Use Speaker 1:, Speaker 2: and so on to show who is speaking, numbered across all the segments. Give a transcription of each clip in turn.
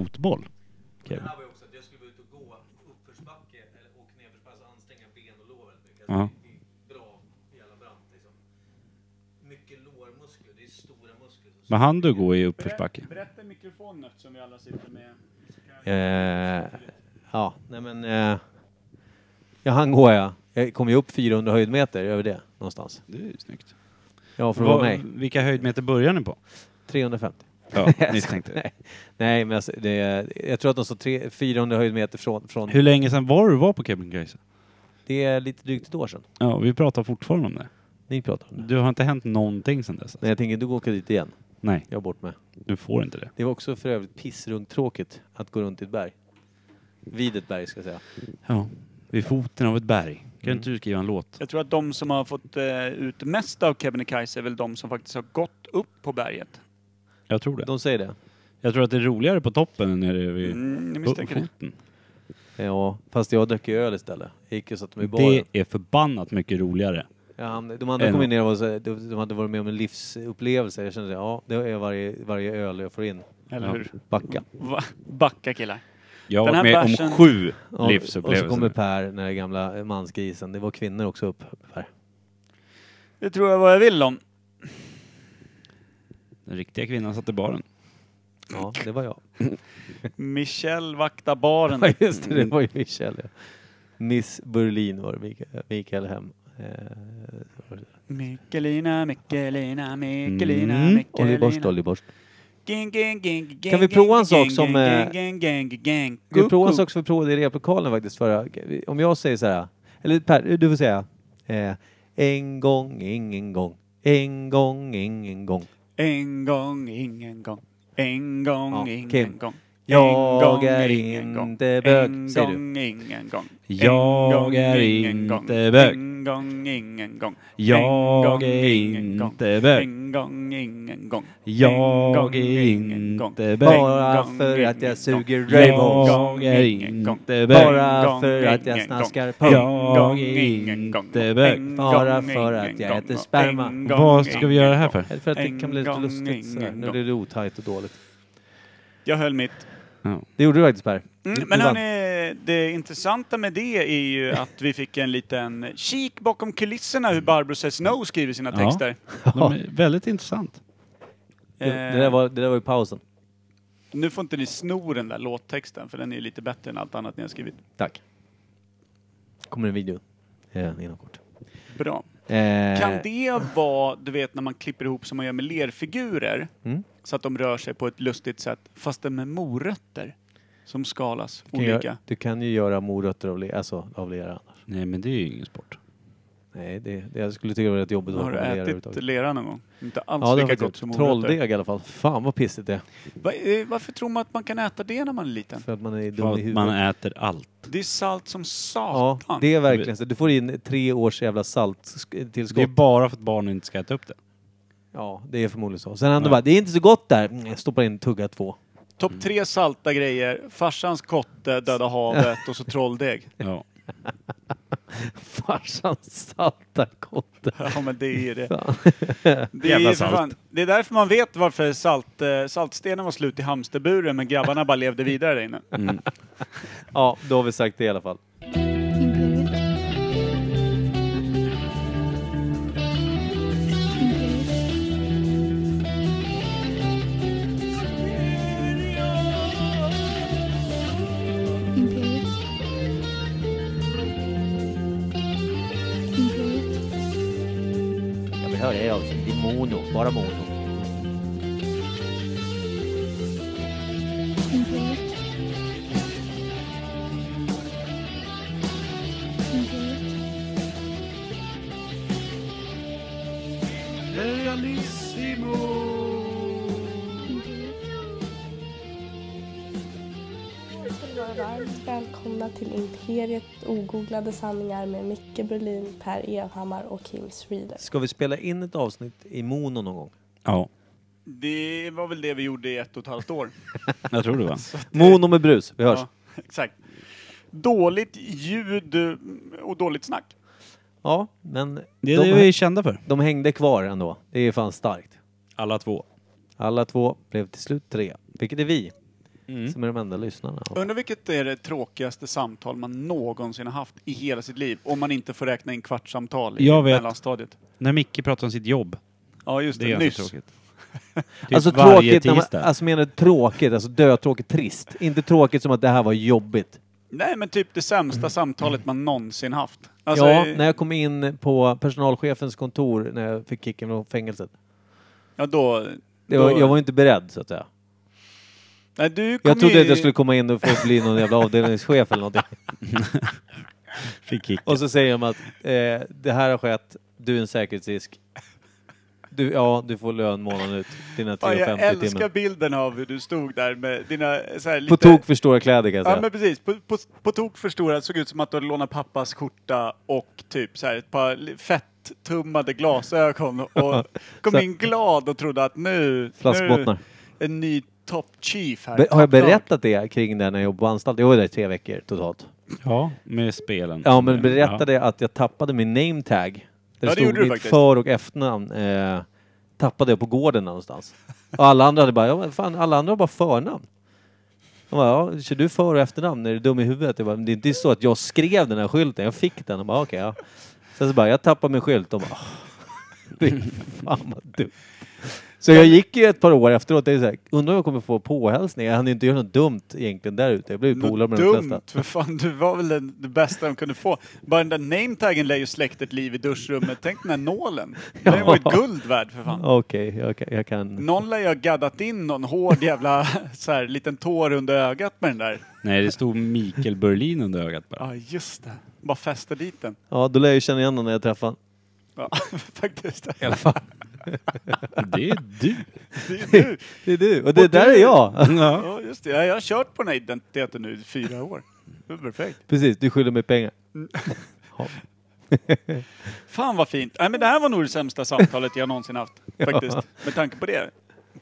Speaker 1: fotboll.
Speaker 2: Det
Speaker 1: Kevin.
Speaker 2: här var ju också att jag skulle vara ute och gå uppförsbacke eller, och nedförsbacke, alltså anstränga ben och lår väldigt mycket. Alltså,
Speaker 1: Ja.
Speaker 2: det, det är bra, jävla brant liksom. Mycket lårmuskler, det är stora muskler.
Speaker 1: Men han du gå i uppförsbacke?
Speaker 3: Berätta i mikrofonen eftersom vi alla sitter med. så kan jag-
Speaker 2: Eh, ja, nej men... Eh, ja, han går jag. Jag kom ju upp 400 höjdmeter över det någonstans.
Speaker 1: Det är ju snyggt.
Speaker 2: Ja, för att vara
Speaker 1: Vad-
Speaker 2: mig.
Speaker 1: Vilka höjdmeter börjar ni på?
Speaker 2: 350.
Speaker 1: Ja, misstänkte.
Speaker 2: Nej, nej men alltså, det, jag tror att de står tre- 400 höjdmeter från... från
Speaker 1: Hur länge sedan var du var på Kebnekaise?
Speaker 2: det är lite drygt ett år sedan.
Speaker 1: Ja, vi pratar fortfarande om det.
Speaker 2: Ni pratar om det.
Speaker 1: Du har inte hänt någonting sedan dess? Alltså.
Speaker 2: Nej, jag tänker inte gå och åka dit igen.
Speaker 1: Nej,
Speaker 2: Jag är bort med.
Speaker 1: du får inte det.
Speaker 2: Det var också för övrigt pissrungtråkigt att gå runt i ett berg. Vid ett berg ska jag säga.
Speaker 1: Ja, vid foten av ett berg. Kan inte du skriva en låt?
Speaker 3: Jag tror att de som har fått eh, ut mest av Kebnekaise är väl de som faktiskt har gått upp på berget.
Speaker 1: Jag tror det.
Speaker 2: De säger det.
Speaker 1: Jag tror att det är roligare på toppen än nere vid
Speaker 3: Mm,
Speaker 2: Oh,
Speaker 3: jag
Speaker 1: fo-
Speaker 3: misstänker det.
Speaker 1: foten.
Speaker 2: Ja, fast jag drack ju öl istället. Jag gick och satte mig i baren.
Speaker 1: Det är förbannat mycket roligare.
Speaker 2: Jag hamnade, de andra
Speaker 1: En-
Speaker 2: kom in och var så här, de, de hade varit med om en livsupplevelse. Jag kände så här, ja, det är varje, varje öl jag får in.
Speaker 3: Eller
Speaker 1: Ja.
Speaker 3: hur?
Speaker 2: Backa.
Speaker 3: Va? Backa killar.
Speaker 1: Jag
Speaker 3: Den
Speaker 1: var
Speaker 3: här
Speaker 1: med
Speaker 3: bärsen-
Speaker 1: om sju
Speaker 2: Ja,
Speaker 1: livsupplevelser.
Speaker 2: Och så kommer Per, den där gamla mansgrisen. Det var kvinnor också upp. Per.
Speaker 3: Det tror jag vad jag vill om.
Speaker 1: Den riktiga kvinnan satt i baren.
Speaker 2: Ja, det var jag.
Speaker 3: Michel vaktar baren.
Speaker 2: Ja, just det, det var ju Michel. Ja. Miss Berlin var det, Mikael, Mikael Hem. Eh,
Speaker 3: Mikkelina, Mikkelina, Mikkelina,
Speaker 1: Mm.
Speaker 2: Olli Borst,
Speaker 3: Mikkelina.
Speaker 2: Olli Borst.
Speaker 3: Ging, ging, ging, ging,
Speaker 2: Kan vi
Speaker 3: ging,
Speaker 2: prova en sak
Speaker 3: ging,
Speaker 2: som,
Speaker 3: ging,
Speaker 2: eh,
Speaker 3: ging, ging, ging, ging.
Speaker 2: Vi provar en
Speaker 3: Kuckuck.
Speaker 2: sak som vi provade i replokalen faktiskt förra. Om jag säger så här, eller Per, du får säga. Eh, en gång, ingen gång. En gång, ingen gång.
Speaker 3: En gång, ingen gång. En gång,
Speaker 2: Ja,
Speaker 3: ingen
Speaker 2: Kim.
Speaker 3: gång.
Speaker 2: Jag
Speaker 3: en gång,
Speaker 2: är
Speaker 3: ingen gång.
Speaker 2: inte bög,
Speaker 3: En
Speaker 2: säger du.
Speaker 3: gång, ingen gång.
Speaker 1: Jag
Speaker 3: En gång,
Speaker 1: är
Speaker 3: ingen gång.
Speaker 1: inte bög.
Speaker 3: En gång, ingen gång.
Speaker 1: Jag
Speaker 3: En gång,
Speaker 1: är
Speaker 3: ingen gång.
Speaker 1: inte bög.
Speaker 3: En gång, ingen gång. En gång,
Speaker 1: Jag är
Speaker 3: ingen gång.
Speaker 1: inte
Speaker 3: En
Speaker 1: bög.
Speaker 2: Bara
Speaker 3: gång,
Speaker 2: för att
Speaker 3: ingen
Speaker 2: jag
Speaker 3: gång.
Speaker 2: suger Rainbows.
Speaker 1: Jag är
Speaker 3: ingen gång.
Speaker 1: inte bög.
Speaker 2: Bara
Speaker 3: gång,
Speaker 2: för att jag
Speaker 3: ingen
Speaker 2: snaskar
Speaker 3: gång.
Speaker 2: pung.
Speaker 1: Jag är
Speaker 3: ingen gång.
Speaker 1: inte bög.
Speaker 3: En
Speaker 2: Bara
Speaker 3: gång,
Speaker 2: för att
Speaker 3: ingen
Speaker 2: jag
Speaker 3: gång.
Speaker 2: äter sperma.
Speaker 3: En gång,
Speaker 1: Vad ska vi
Speaker 3: ingen
Speaker 1: göra det här
Speaker 3: gång.
Speaker 1: för?
Speaker 2: Eller För att det
Speaker 3: En
Speaker 2: kan bli lite
Speaker 3: gång,
Speaker 2: lustigt. Så här.
Speaker 3: ingen
Speaker 2: Nu
Speaker 3: gång.
Speaker 2: blir det otajt och dåligt.
Speaker 3: Jag höll mitt.
Speaker 2: Det gjorde du faktiskt Per.
Speaker 3: Mm,
Speaker 2: Du
Speaker 3: men
Speaker 2: vann.
Speaker 3: hörni, det intressanta med det är ju att vi fick en liten kik bakom kulisserna hur Barbro Says No skriver sina
Speaker 1: Ja.
Speaker 3: texter.
Speaker 1: De är väldigt intressant.
Speaker 2: Det, det, där
Speaker 3: Eh,
Speaker 2: var, det där var ju pausen.
Speaker 3: Nu får inte ni sno den där låttexten för den är ju lite bättre än allt annat ni har skrivit.
Speaker 2: Tack. Kommer en video eh, inom kort.
Speaker 3: Bra.
Speaker 2: Eh,
Speaker 3: Kan det vara, du vet när man klipper ihop som man gör med lerfigurer
Speaker 2: Mm.
Speaker 3: så att de rör sig på ett lustigt sätt fast det är med morötter som skalas
Speaker 2: kan
Speaker 3: olika?
Speaker 2: göra- du kan ju göra morötter av, le, alltså, av lera annars.
Speaker 1: Nej, men det är ju ingen sport.
Speaker 2: Nej, det, det, jag skulle tycka det var rätt jobbigt att
Speaker 3: Har du
Speaker 2: vara lera
Speaker 3: ätit
Speaker 2: överhuvudtaget.
Speaker 3: lera någon gång? Inte alls
Speaker 2: Ja, det har
Speaker 3: lika
Speaker 2: jag
Speaker 3: gott som
Speaker 2: faktiskt.
Speaker 3: morötter.
Speaker 2: Trolldeg i alla fall. Fan vad pissigt det är.
Speaker 3: Va, eh, varför tror man att man kan äta det när man är liten?
Speaker 2: För att man är dum i
Speaker 1: För att
Speaker 2: huvudet.
Speaker 1: man äter allt.
Speaker 3: Det är salt som satan.
Speaker 2: Ja, det är verkligen så. Du får in tre års jävla salttillskott.
Speaker 1: Det är bara för att barnen inte ska äta upp det.
Speaker 2: Ja, det är förmodligen så. Sen han
Speaker 1: Ja.
Speaker 2: bara, det är inte så gott där. Mm, jag stoppar in tugga två.
Speaker 3: Topp tre salta grejer. Farsans kotte, Döda havet och så trolldeg.
Speaker 1: Ja.
Speaker 2: Farsans salta kotte.
Speaker 3: Ja men det är ju det.
Speaker 2: Fan.
Speaker 3: Det är,
Speaker 1: Jävla
Speaker 3: ju för
Speaker 1: salt.
Speaker 3: fan, det är därför man vet varför salt, eh, saltstenen var slut i Hamsterburen men grabbarna bara levde vidare där inne.
Speaker 2: Ja, då har vi sagt det i alla fall.
Speaker 4: Imperiet. Imperiet. Imperiet.
Speaker 2: Jag vill höra er också. Det är mono, bara mono.
Speaker 4: Imperiet. Imperiet.
Speaker 5: ska ni vara varmt välkomna till Imperiet ogooglade sanningar med Micke Berlin, Per Evhammar och Kim Schreeder.
Speaker 2: Ska vi spela in ett avsnitt i mono någon gång?
Speaker 1: ja,
Speaker 3: Det var väl det vi gjorde i ett och ett halvt år.
Speaker 1: jag tror det va?
Speaker 2: Mono med brus. Vi hörs.
Speaker 3: Ja, exakt. Dåligt ljud eh, och dåligt snack.
Speaker 2: Ja, men
Speaker 1: Det är
Speaker 2: de,
Speaker 1: det vi är kända för.
Speaker 2: de hängde kvar ändå. Det är fan starkt.
Speaker 1: Alla två.
Speaker 2: Alla två blev till slut tre, vilket är vi.
Speaker 1: Mm.
Speaker 2: som är de enda lyssnarna.
Speaker 3: Undrar vilket är det tråkigaste samtal man någonsin har haft i hela sitt liv? Om man inte får räkna in kvartssamtal i
Speaker 1: Jag vet.
Speaker 3: mellanstadiet.
Speaker 1: När Micke pratar om sitt jobb.
Speaker 3: Ja, just
Speaker 1: Det är
Speaker 3: det.
Speaker 1: ganska
Speaker 3: Nyss.
Speaker 1: tråkigt. Typ
Speaker 2: Alltså
Speaker 1: varje
Speaker 2: tråkigt, när man,
Speaker 1: tisdag.
Speaker 2: alltså menar du tråkigt, alltså dötråkigt, trist. Inte tråkigt som att det här var jobbigt.
Speaker 3: Nej, men typ det sämsta
Speaker 1: Mm.
Speaker 3: samtalet man någonsin haft. Alltså,
Speaker 2: ja,
Speaker 3: eh,
Speaker 2: när jag kom in på personalchefens kontor när jag fick kicken från fängelset.
Speaker 3: ja då...
Speaker 2: Det var,
Speaker 3: då
Speaker 2: jag var inte beredd så att säga.
Speaker 3: nej, du kom
Speaker 2: Jag trodde
Speaker 3: ju,
Speaker 2: att jag skulle komma in och få bli någon jävla avdelningschef eller någonting.
Speaker 1: Fick kick.
Speaker 2: Och så säger de att eh, det här har skett, du är en säkerhetsrisk. Du, ja, du får lön månaden ut, dina
Speaker 3: Ja, jag
Speaker 2: 3,50 i
Speaker 3: älskar
Speaker 2: timmen.
Speaker 3: bilden av hur du stod där med dina så här, lite...
Speaker 2: På tok för stora kläder kan jag
Speaker 3: Ja
Speaker 2: säga.
Speaker 3: men precis, på, på, på tok för stora, det såg ut som att du hade lånat pappas skjorta och typ så här ett par li- fett-tummade glasögon och kom
Speaker 2: Så-
Speaker 3: in glad och trodde att nu...
Speaker 2: Flaskbottnar.
Speaker 3: Nu, en ny top chief här.
Speaker 2: Be- har jag
Speaker 3: Topplag.
Speaker 2: berättat det kring det när jag jobbade på anstalt? Jag var där i tre veckor totalt.
Speaker 1: Ja, med spelen.
Speaker 2: Ja, men berättade
Speaker 1: Ja.
Speaker 2: att jag tappade min name tag. Där
Speaker 3: Eh, Ja, det
Speaker 2: stod
Speaker 3: gjorde du
Speaker 2: mitt
Speaker 3: faktiskt.
Speaker 2: för och efternamn. Eh, tappade jag på gården någonstans. Och alla andra hade bara, ja, men fan, alla andra har bara förnamn. De bara, ja, kör du för och efternamn? Är du dum i huvudet? Jag bara, men det är inte så att jag skrev den här skylten, jag fick den. De bara, okej, ja. Sen så bara, jag tappade min skylt. De bara, "Fy fan vad dumt. Så jag gick ju ett par år efteråt, det är så här, undrar om jag kommer få påhälsning? Jag hann ju inte göra något dumt egentligen där ute. Jag blev ju polare
Speaker 3: Något
Speaker 2: med de flesta.
Speaker 3: dumt, för fan du var väl den, det bästa de kunde få. Bara den där nametaggen lär ju släktet liv i duschrummet. Tänk den där nålen. Den var ju guld värd för fan.
Speaker 2: Okej, jag, kan- jag kan...
Speaker 3: Någon lär ju ha gaddat in någon hård jävla så här, liten tår under ögat med den där.
Speaker 1: Nej, det stod Mikael Berlin under ögat bara.
Speaker 3: Ja just det, bara fästa dit den.
Speaker 2: Ja, då lär jag ju känna igen honom när jag träffar honom.
Speaker 3: Ja, faktiskt.
Speaker 1: Det är du.
Speaker 3: Det är du.
Speaker 2: Det är du, och det
Speaker 3: Och
Speaker 2: där
Speaker 3: du-
Speaker 2: är jag!
Speaker 3: Ja, just det. Ja, jag har kört på den här identiteten nu i fyra år. Det är perfekt.
Speaker 2: Precis, du skyller mig pengar.
Speaker 3: Mm. Fan vad fint. Nej, men det här var nog det sämsta samtalet jag någonsin haft. Faktiskt. Med tanke på det.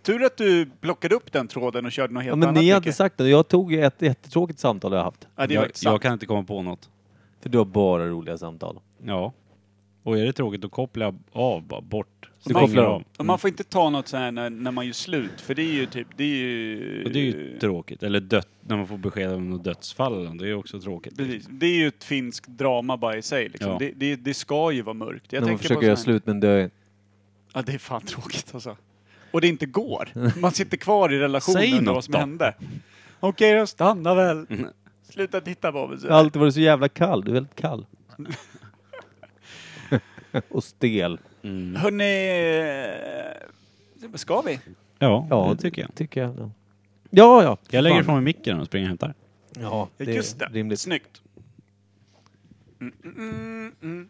Speaker 3: Tur att du plockade upp den tråden och körde något helt
Speaker 2: Ja, men
Speaker 3: annat.
Speaker 2: ni har
Speaker 3: Micke.
Speaker 2: inte sagt det. Jag tog ju ett jättetråkigt samtal jag har haft.
Speaker 3: ja, det var
Speaker 1: Jag,
Speaker 3: inte sant.
Speaker 1: jag kan inte komma på något.
Speaker 2: För du har bara roliga samtal.
Speaker 1: Ja. Och är det tråkigt att koppla av bara bort.
Speaker 2: Du
Speaker 1: Stänger
Speaker 2: kopplar av.
Speaker 3: Och Man får inte ta något så här när, när man gör slut. För det är ju typ, det är ju... eh,
Speaker 1: Och det är ju tråkigt. Eller dött, när man får besked om något dödsfall eller något, det är ju också tråkigt.
Speaker 3: Precis. Det är ju ett finskt drama bara i sig. Liksom.
Speaker 1: Ja.
Speaker 3: Det, det, det ska ju vara mörkt. Jag
Speaker 2: När man
Speaker 3: tänker på
Speaker 2: försöker
Speaker 3: så
Speaker 2: göra
Speaker 3: här-
Speaker 2: slut men dö.
Speaker 3: Ja, det är fan tråkigt alltså. Och det inte går. Man sitter kvar i relationen
Speaker 1: Säg
Speaker 3: och undrar
Speaker 1: något
Speaker 3: vad som
Speaker 1: då. Mm.
Speaker 3: hände. Okej då, stanna väl. Sluta titta på mig.
Speaker 2: Jag har alltid varit så jävla kall. Du är väldigt kall. och stel.
Speaker 3: Hörrni, eh, ska vi?
Speaker 1: Ja,
Speaker 2: Ja,
Speaker 1: det tycker jag.
Speaker 2: Tycker jag. Ja, ja. ja.
Speaker 1: Jag lägger
Speaker 2: Fan.
Speaker 1: ifrån mig micken och springer och hämtar.
Speaker 2: Ja, det är
Speaker 3: Just det,
Speaker 2: rimligt.
Speaker 3: snyggt. Mm, mm, mm, mm.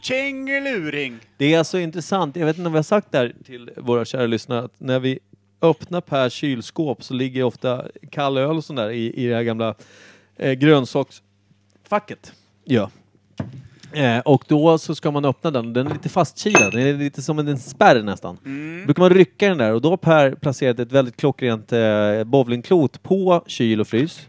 Speaker 3: Tjängeluring!
Speaker 2: Det är alltså intressant, jag vet inte om vi har sagt det här till våra kära lyssnare, att när vi öppnar Pers kylskåp så ligger ofta kall öl och sånt där i, i det här gamla eh, grönsaksfacket. Ja. Eh, och då så ska man öppna den, den är lite fastkilad, den är lite som en, en spärr nästan. Då brukar man rycka den där och då har Per placerat ett väldigt klockrent eh, bowlingklot på kyl och frys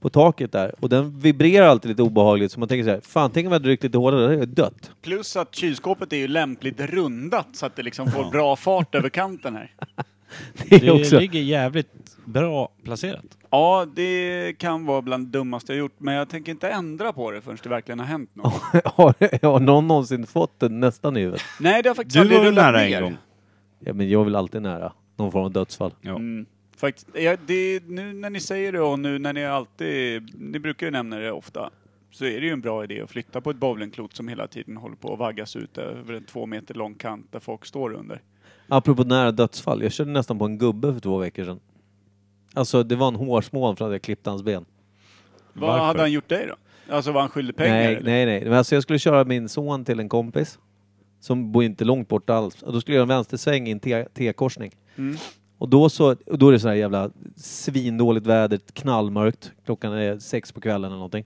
Speaker 2: på taket där och den vibrerar alltid lite obehagligt så man tänker så här, fan tänk om jag hade ryckt lite hårdare, det hade jag dött.
Speaker 3: Plus att kylskåpet är ju lämpligt rundat så att det liksom får bra fart över kanten här.
Speaker 2: Det
Speaker 1: Det ligger jävligt bra placerat.
Speaker 3: Ja, det kan vara bland det dummaste jag gjort, men jag tänker inte ändra på det förrän det verkligen har hänt något.
Speaker 2: har, har någon någonsin fått den nästan i huvudet?
Speaker 3: Nej, det har faktiskt
Speaker 1: Du
Speaker 3: aldrig
Speaker 1: var väl
Speaker 3: rullat
Speaker 1: nära
Speaker 3: ner.
Speaker 1: en gång?
Speaker 2: Ja, men jag vill alltid nära någon form av dödsfall.
Speaker 1: Ja.
Speaker 3: Mm. Faktiskt, ja, det, nu när ni säger det och nu när ni alltid, ni brukar ju nämna det ofta, så är det ju en bra idé att flytta på ett bowlingklot som hela tiden håller på att vaggas ut över en två meter lång kant där folk står under.
Speaker 2: Apropå nära dödsfall, jag körde nästan på en gubbe för två veckor sedan. Alltså det var en hårsmån för att jag klippte hans ben.
Speaker 3: Vad
Speaker 1: Varför?
Speaker 3: hade han gjort dig då? Alltså var han skyldig pengar?
Speaker 2: nej,
Speaker 3: eller?
Speaker 2: nej, nej. Men alltså jag skulle köra min son till en kompis som bor inte långt bort alls. Och då skulle jag göra en vänstersväng i en T- T-korsning.
Speaker 3: Mm.
Speaker 2: Och då, så, och då är det sådär jävla svindåligt väder, knallmörkt. Klockan är sex på kvällen eller någonting.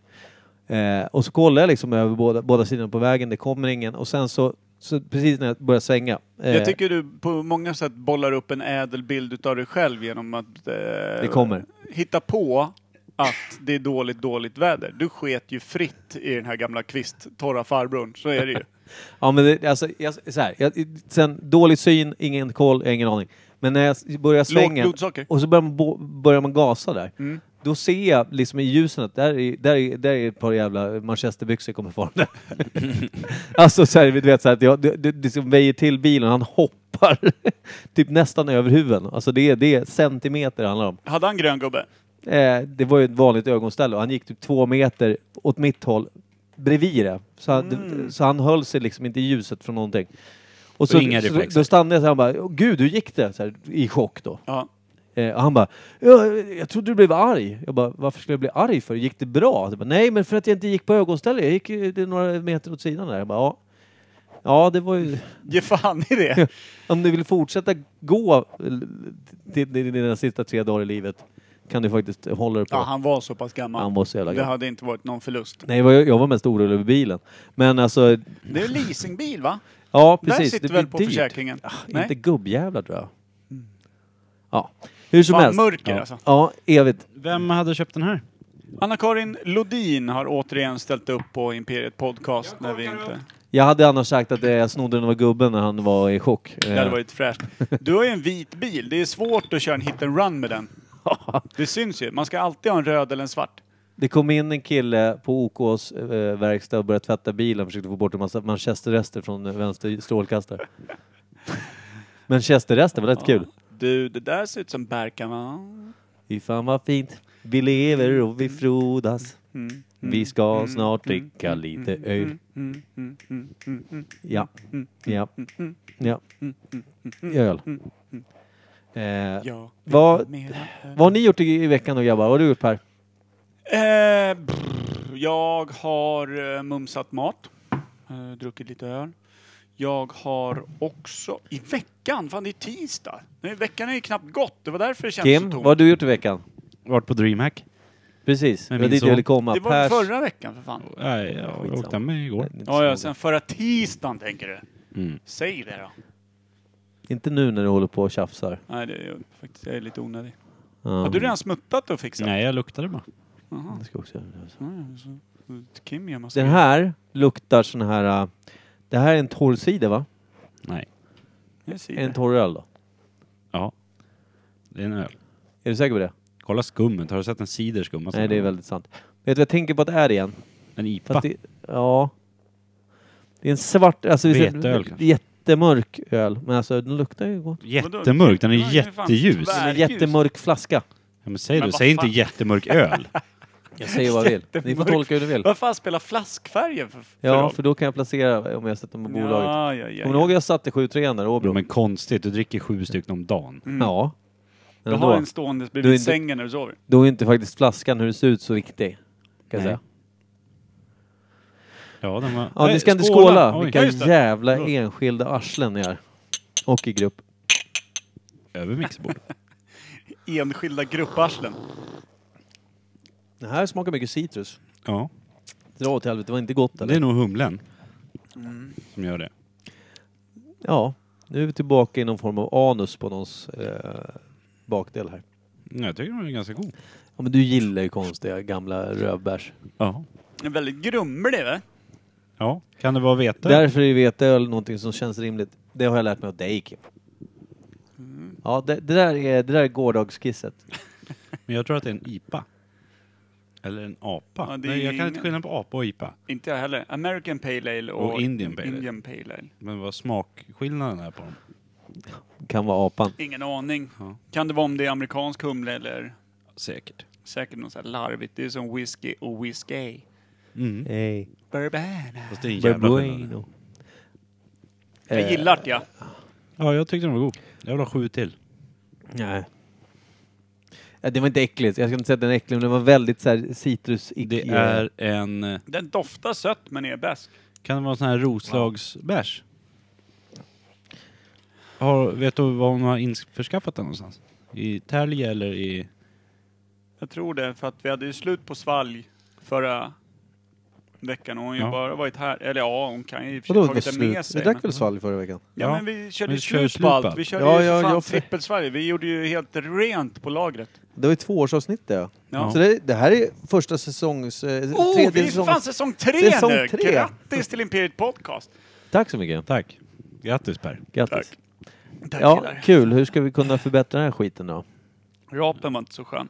Speaker 2: Eh, och så kollar jag liksom över båda, båda sidorna på vägen, det kommer ingen. Och sen så Så precis när jag börjar svänga. eh,
Speaker 3: Jag tycker du på många sätt bollar upp en ädel bild utav dig själv genom att eh,
Speaker 2: det kommer.
Speaker 3: hitta på att det är dåligt, dåligt väder. Du sket ju fritt i den här gamla kvisttorra farbrorn, så är det ju.
Speaker 2: Ja, men det, alltså, jag, så här, jag, sen, dålig syn, ingen koll, jag har ingen aning. Men när jag s- börjar
Speaker 3: Lågt
Speaker 2: svängen
Speaker 3: blodsocker.
Speaker 2: och så börjar man, bo, börjar man gasa där.
Speaker 3: Mm.
Speaker 2: Då ser jag liksom i ljusen att där är, där är, där är ett par jävla manchesterbyxor kommer farande. alltså så här, du vet så här, att jag, det, det, det liksom väjer till bilen, han hoppar typ nästan över huven. Alltså det är, det är centimeter det handlar om.
Speaker 3: Hade han grön gubbe?
Speaker 2: Eh, det var ju ett vanligt ögonställe och han gick typ två meter åt mitt håll bredvid det. Så han, så han höll sig liksom inte i ljuset från någonting. Och så,
Speaker 1: inga
Speaker 2: så,
Speaker 1: reflexer.
Speaker 2: då stannade jag så här och bara, "Åh, gud hur gick det? Så här, I chock då.
Speaker 3: Ja.
Speaker 2: Eh, och han bara, ja, jag trodde du blev arg. Jag bara, varför skulle jag bli arg för? Gick det bra? Jag bara, Nej, men för att jag inte gick på ögonstället. Jag gick ju det några meter åt sidan där. Jag bara, ja. Ja, det var ju...
Speaker 3: Ge fan i det!
Speaker 2: Om du vill fortsätta gå eh, till till dina sista tre dagar i livet kan du faktiskt hålla dig på.
Speaker 3: Ja, han var så pass gammal.
Speaker 2: Han var så jävla
Speaker 3: Det
Speaker 2: gammal.
Speaker 3: hade inte varit någon förlust.
Speaker 2: Nej, jag var- jag var mest orolig över bilen. Men alltså,
Speaker 3: Det är leasingbil va?
Speaker 2: ja precis.
Speaker 3: Där sitter
Speaker 2: det
Speaker 3: väl
Speaker 2: blir
Speaker 3: på
Speaker 2: dyrt. Ah,
Speaker 3: försäkringen? Nej. Mm.
Speaker 2: Inte gubbjävlar tror jag. Ja, hur som
Speaker 3: Fan,
Speaker 2: helst.
Speaker 3: mörker
Speaker 2: ja.
Speaker 3: alltså.
Speaker 2: Ja, evigt.
Speaker 1: Vem hade köpt den här?
Speaker 3: Anna-Karin Lodin har återigen ställt upp på Imperiet Podcast när vi inte...
Speaker 2: Jag hade annars sagt att eh, jag snodde den av gubben när han var i chock.
Speaker 3: Det hade
Speaker 2: Eh,
Speaker 3: varit fräscht. Du har ju en vit bil. Det är svårt att köra en hit and run med den. Det syns ju. Man ska alltid ha en röd eller en svart.
Speaker 2: Eh, Det kom in en kille på OKs eh, verkstad och började tvätta bilen försökte få bort en massa manchesterrester från eh, vänster strålkastare. manchesterrester, var rätt kul.
Speaker 3: Du, det där ser ut som Berkan va?
Speaker 2: Fy fan vad fint. Vi lever och vi frodas.
Speaker 3: Mm.
Speaker 2: Vi ska snart dricka lite öl.
Speaker 3: Mm, mm, mm, mm, mm.
Speaker 2: Ja. Ja. Ja. Öl. Eh,
Speaker 3: Mm. Ja,
Speaker 2: vad,
Speaker 3: mera.
Speaker 2: vad har ni gjort i, i veckan då grabbar? Vad har du gjort Per?
Speaker 3: Eh, brr, jag har eh, mumsat mat. Eh, druckit lite öl. Jag har också... I veckan? Fan, det är tisdag. Nu, veckan är ju knappt gått. Det var därför det kändes
Speaker 2: Kim,
Speaker 3: så
Speaker 2: vad
Speaker 3: tomt.
Speaker 2: har du gjort i veckan?
Speaker 1: Vart på DreamHack?
Speaker 2: Precis, det
Speaker 1: Med
Speaker 2: var
Speaker 1: min
Speaker 2: dit jag
Speaker 1: son.
Speaker 2: ville komma.
Speaker 3: Det var väl
Speaker 2: Pers-
Speaker 3: förra veckan för fan?
Speaker 1: Nej, jag åkte med igår.
Speaker 3: Ja, ja, sen förra tisdagen tänker du.
Speaker 1: Mm.
Speaker 3: Säg det då.
Speaker 2: Inte nu när du håller på och tjafsar.
Speaker 3: Nej, det är faktiskt jag är lite onödig.
Speaker 2: Ja,
Speaker 3: Har du redan smuttat och fixat?
Speaker 1: Nej, jag luktade bara.
Speaker 3: Aha.
Speaker 2: jag ska också göra det.
Speaker 3: Mm, så- Kim gör massa
Speaker 2: Den här luktar sån här... äh, Det här är en torr cider va?
Speaker 1: Nej.
Speaker 3: Jag ser
Speaker 2: En
Speaker 3: det.
Speaker 2: torr öl då?
Speaker 1: Ja. Det är en öl.
Speaker 2: Är du säker på det?
Speaker 1: Kolla skummet. Har du sett en ciderskum?
Speaker 2: Nej, det är väldigt sant. Vet du vad jag tänker på att det är igen?
Speaker 1: En IPA.
Speaker 2: Fast det, ja. Det är en svart, alltså vi
Speaker 1: Veteöl kanske?
Speaker 2: jättemörk öl. Men alltså den luktar ju gott.
Speaker 1: Jättemörk. Den
Speaker 3: Vadå?
Speaker 1: är
Speaker 3: Det är fan
Speaker 1: jätteljus.
Speaker 3: tvär-
Speaker 2: Den är
Speaker 3: Verkljus.
Speaker 2: jättemörk flaska.
Speaker 1: Ja, men säg
Speaker 3: Men
Speaker 1: du.
Speaker 3: vad
Speaker 1: Säg inte
Speaker 3: fan.
Speaker 1: jättemörk öl.
Speaker 2: Jag säger vad jag vill. Ni får
Speaker 3: Jättemörk.
Speaker 2: tolka hur ni vill.
Speaker 3: Vad fan spelar flaskfärgen för, för
Speaker 2: Ja,
Speaker 3: roll?
Speaker 2: för då kan jag placera om jag sätter dem på bolaget.
Speaker 3: Ja, ja, ja,
Speaker 2: Kommer ni ihåg
Speaker 3: ja.
Speaker 2: jag satte 7-3 där i Åbro?
Speaker 1: Ja, men konstigt. Du dricker sju stycken om dagen.
Speaker 2: Ja.
Speaker 3: Du
Speaker 2: Men
Speaker 3: har
Speaker 2: då,
Speaker 3: en stående
Speaker 2: Du är
Speaker 3: bredvid
Speaker 2: inte-
Speaker 3: sängen när du sover.
Speaker 2: då är inte faktiskt flaskan hur det ser ut så viktig. Kan jag
Speaker 1: Nej.
Speaker 2: säga.
Speaker 1: Ja, den var...
Speaker 2: Ja,
Speaker 1: Nej,
Speaker 2: ni ska inte skåla.
Speaker 1: Oj.
Speaker 2: Vilka
Speaker 3: Ja, just det.
Speaker 2: jävla
Speaker 1: Förlåt.
Speaker 2: enskilda arslen ni är. Och i grupp.
Speaker 1: Över mixerbordet.
Speaker 3: Enskilda grupparslen.
Speaker 2: Det här smakar mycket citrus.
Speaker 1: Ja.
Speaker 2: Dra åt helvete, det var inte gott
Speaker 1: Det
Speaker 2: eller?
Speaker 1: är nog humlen.
Speaker 3: Mm.
Speaker 1: Som gör det.
Speaker 2: Ja, nu är vi tillbaka i någon form av anus på någons eh, bakdel här.
Speaker 1: Nej, Jag tycker den är ganska god.
Speaker 2: Ja, men du gillar ju konstiga gamla rövbärs.
Speaker 1: Ja.
Speaker 3: Den är väldigt grumlig va?
Speaker 1: Ja. Kan det vara vete?
Speaker 2: Därför är veteöl någonting som känns rimligt. Det har jag lärt mig av dig Kim. Ja, det, det, där är, det där är gårdagskisset.
Speaker 1: Men jag tror att det är en IPA. Eller en apa.
Speaker 3: Ja, det är
Speaker 1: Nej, jag kan inte
Speaker 3: ingen-
Speaker 1: skilja på apa och IPA.
Speaker 3: Inte jag heller. American Pale Ale och,
Speaker 1: Och Indian Pale Ale.
Speaker 3: Indian Pale Ale.
Speaker 1: Men vad smakskillnaden är på dem.
Speaker 2: Kan vara apan.
Speaker 3: Ingen aning.
Speaker 1: Ja.
Speaker 3: Kan det vara om det är amerikansk humle eller
Speaker 1: Säkert.
Speaker 3: säkert något så här larvigt. Det är som whisky och whisky.
Speaker 1: Mm.
Speaker 2: Hey.
Speaker 3: Bourbon.
Speaker 1: Fast det är en jävla skillnad.
Speaker 3: Jag gillar det ja.
Speaker 1: Ja, jag tyckte den var god. Jag vill ha sju till.
Speaker 2: Nej. Ja, det var inte äckligt. Jag ska inte säga att den är äcklig, men den var väldigt så här, citrus
Speaker 1: Det är en... eh,
Speaker 3: Den doftar sött men är bäst.
Speaker 1: Kan det vara en sån här Roslagsbärs? Har, vet du var hon har införskaffat den någonstans? I Tälje eller i...
Speaker 3: Jag tror det för att vi hade ju slut på svalg förra veckan och hon har ju
Speaker 1: Ja.
Speaker 3: bara varit här. Eller ja, hon kan ju i och för sig
Speaker 6: Vadå
Speaker 3: tagit det med
Speaker 6: slut? Vi
Speaker 3: sig.
Speaker 6: drack
Speaker 3: men-
Speaker 6: väl svalg förra veckan?
Speaker 3: Ja,
Speaker 1: Ja.
Speaker 3: men vi körde
Speaker 1: Men
Speaker 3: ju
Speaker 1: vi kör ju
Speaker 3: slut på allt.
Speaker 1: slupat.
Speaker 3: Vi körde
Speaker 6: Ja,
Speaker 3: ju
Speaker 6: ja,
Speaker 3: för fan
Speaker 6: jag-
Speaker 3: trippelsverige. Vi gjorde ju helt rent på lagret.
Speaker 6: Det var ju tvåårsavsnitt det ja.
Speaker 3: Ja.
Speaker 6: Så det, det här är första säsongs... Eh,
Speaker 3: Oh, vi är för
Speaker 6: säsongs-
Speaker 3: fan säsong tre
Speaker 6: Säsong
Speaker 3: nu!
Speaker 6: tre.
Speaker 3: Grattis till Imperiet Podcast!
Speaker 2: Tack så mycket.
Speaker 1: Tack. Grattis Per.
Speaker 2: Grattis.
Speaker 3: Tack. Tack
Speaker 2: Ja,
Speaker 3: killar.
Speaker 2: kul. Hur ska vi kunna förbättra den här skiten då?
Speaker 3: Rapen var inte så skön.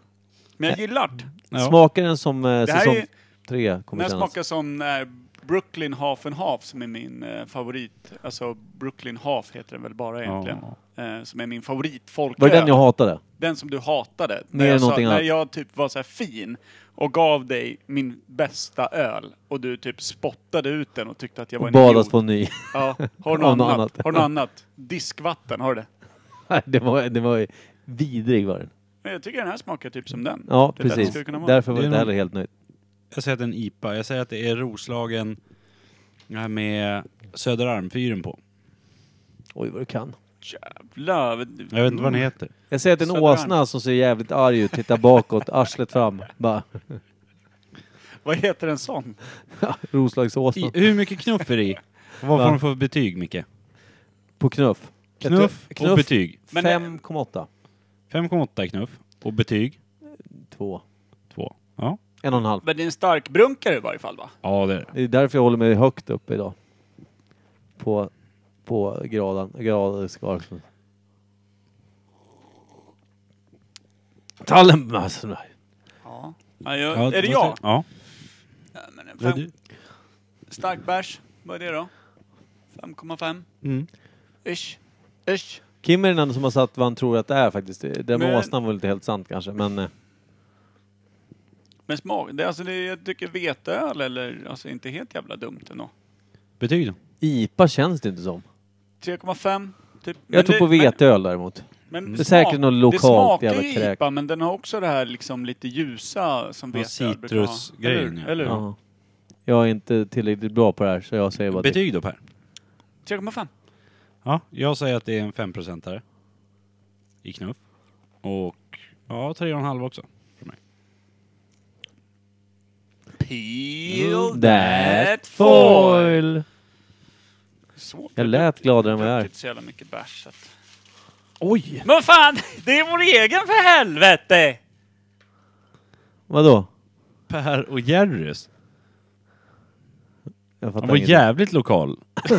Speaker 3: Men
Speaker 2: Eh,
Speaker 3: jag gillar det.
Speaker 1: Ja.
Speaker 2: Smakar den som eh,
Speaker 3: Det här
Speaker 2: säsong
Speaker 3: är-
Speaker 2: tre kommer
Speaker 3: Den
Speaker 2: kännas?
Speaker 3: smakar som eh, Brooklyn Half and Half som är min eh, favorit. Alltså Brooklyn Half heter den väl bara egentligen. Eh, som är min favorit
Speaker 2: Var det den jag
Speaker 3: folköl.
Speaker 2: hatade?
Speaker 3: Den som du hatade.
Speaker 2: Mer
Speaker 3: När jag,
Speaker 2: än
Speaker 3: sa,
Speaker 2: någonting
Speaker 3: när
Speaker 2: annat.
Speaker 3: jag typ var så här fin och gav dig min bästa öl och du typ spottade ut den och tyckte att jag var en
Speaker 2: Badas
Speaker 3: idiot.
Speaker 2: på en ny.
Speaker 3: Ja, har du något
Speaker 2: Av något
Speaker 3: annat?
Speaker 2: annat.
Speaker 3: Har du något annat? Diskvatten, har du det?
Speaker 2: Nej, det var, det var ju vidrig var den.
Speaker 3: Men jag tycker den här smakar typ som den.
Speaker 2: Ja,
Speaker 3: Det är där det
Speaker 2: precis.
Speaker 3: skulle kunna vara.
Speaker 2: Därför var
Speaker 1: Det
Speaker 2: jag
Speaker 1: är
Speaker 2: inte
Speaker 1: nog-
Speaker 2: heller helt nöjd.
Speaker 1: Jag säger att det är en IPA. Jag säger att det är Roslagen eh, med Söderarmfyren på.
Speaker 2: Oj, vad du kan.
Speaker 3: Jävlar!
Speaker 1: Jag vet inte vad den heter.
Speaker 2: Jag ser att det är en
Speaker 3: Söderarm.
Speaker 2: åsna som ser jävligt arg ut, tittar bakåt, arslet fram. Bara,
Speaker 3: Vad heter en sån?
Speaker 2: Roslagsåsna.
Speaker 1: I, hur mycket knuff är det i? Och Vad
Speaker 2: Va?
Speaker 1: får den för betyg Micke?
Speaker 2: På knuff.
Speaker 1: Knuff,
Speaker 2: Ett-
Speaker 1: och betyg.
Speaker 3: Men-
Speaker 2: 5,8.
Speaker 1: 5,8 i knuff och betyg
Speaker 2: 2.
Speaker 1: 2. Ja.
Speaker 2: En och en halv.
Speaker 3: Men det är en stark brunkare i varje fall va?
Speaker 1: ja, det är det.
Speaker 2: Det är därför jag håller mig högt upp idag. På, på graden, gradskalan. Tallen! Alltså, nej.
Speaker 3: Ja. jag,
Speaker 1: Ja,
Speaker 3: är det
Speaker 1: vad
Speaker 3: jag?
Speaker 1: säger- Ja.
Speaker 3: Ja, men en
Speaker 1: Det är
Speaker 3: fem,
Speaker 1: du.
Speaker 3: stark bärs, vad är det då? 5,5?
Speaker 1: Mm.
Speaker 3: Ish. Ish.
Speaker 2: Kim är den enda som har satt vad han tror att det är faktiskt. Det där med
Speaker 3: Men-
Speaker 2: åsnan var lite helt sant kanske, men... eh,
Speaker 3: Men smak, det, är alltså det, jag tycker veteöl eller, alltså inte helt jävla dumt ändå.
Speaker 1: Betyg då?
Speaker 2: IPA känns det inte som.
Speaker 3: 3,5 typ. Men
Speaker 2: Jag tror
Speaker 3: det-
Speaker 2: på
Speaker 3: men-
Speaker 2: veteöl däremot.
Speaker 3: Men
Speaker 2: Det är säkert något lokalt
Speaker 3: det smakar
Speaker 2: jävla
Speaker 3: ju
Speaker 2: kräk.
Speaker 3: IPA, men den har också det här liksom lite ljusa som
Speaker 1: Ja,
Speaker 3: veteöl brukar ha.
Speaker 1: citrusgrejen,
Speaker 3: Eller,
Speaker 1: ja.
Speaker 3: eller hur?
Speaker 2: Ja. Jag är inte tillräckligt bra på det här, så jag säger bara det.
Speaker 1: Betyg då Per?
Speaker 3: 3,5.
Speaker 1: Ja, jag säger att det är en 5 i knuff. Och ja, 3,5 också.
Speaker 3: Peel
Speaker 2: That foil!
Speaker 3: Svårt.
Speaker 2: Jag lät gladare än vad jag
Speaker 3: Jag
Speaker 2: är.
Speaker 3: inte så jävla mycket bärs. så att-
Speaker 2: Oj!
Speaker 3: Men vad fan, det är vår egen för helvete!
Speaker 2: Vadå?
Speaker 1: Per och Jerrys.
Speaker 2: Jag
Speaker 1: Han
Speaker 2: fattar
Speaker 1: var
Speaker 2: ingenting.
Speaker 1: jävligt lokal.
Speaker 2: Det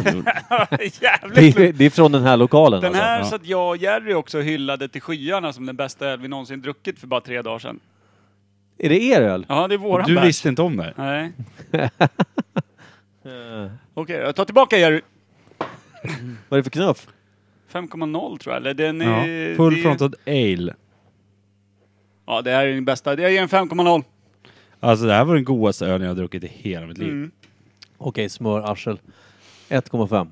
Speaker 3: Jävligt
Speaker 2: är, det är från den här lokalen
Speaker 3: Den
Speaker 2: alltså.
Speaker 3: här
Speaker 1: ja.
Speaker 3: så att jag och Jerry också hyllade till skyarna som den bästa öl vi någonsin druckit för bara tre dagar sedan.
Speaker 2: Är det er öl?
Speaker 3: Ja, det är våran
Speaker 1: Du
Speaker 3: bärs.
Speaker 1: visste inte om det här.
Speaker 3: Nej. Eh, Okej, jag tar tillbaka Jerry.
Speaker 2: Vad är det för knuff?
Speaker 3: 5,0 tror jag, eller den
Speaker 1: Ja.
Speaker 3: är... det
Speaker 1: Full
Speaker 3: är-
Speaker 1: fronted ale.
Speaker 3: Ja, det här är den bästa. Jag ger den 5,0.
Speaker 1: Alltså det här var den godaste ölen jag har druckit i hela mitt liv.
Speaker 3: Mm.
Speaker 2: Okej, smörarsel. 1,5.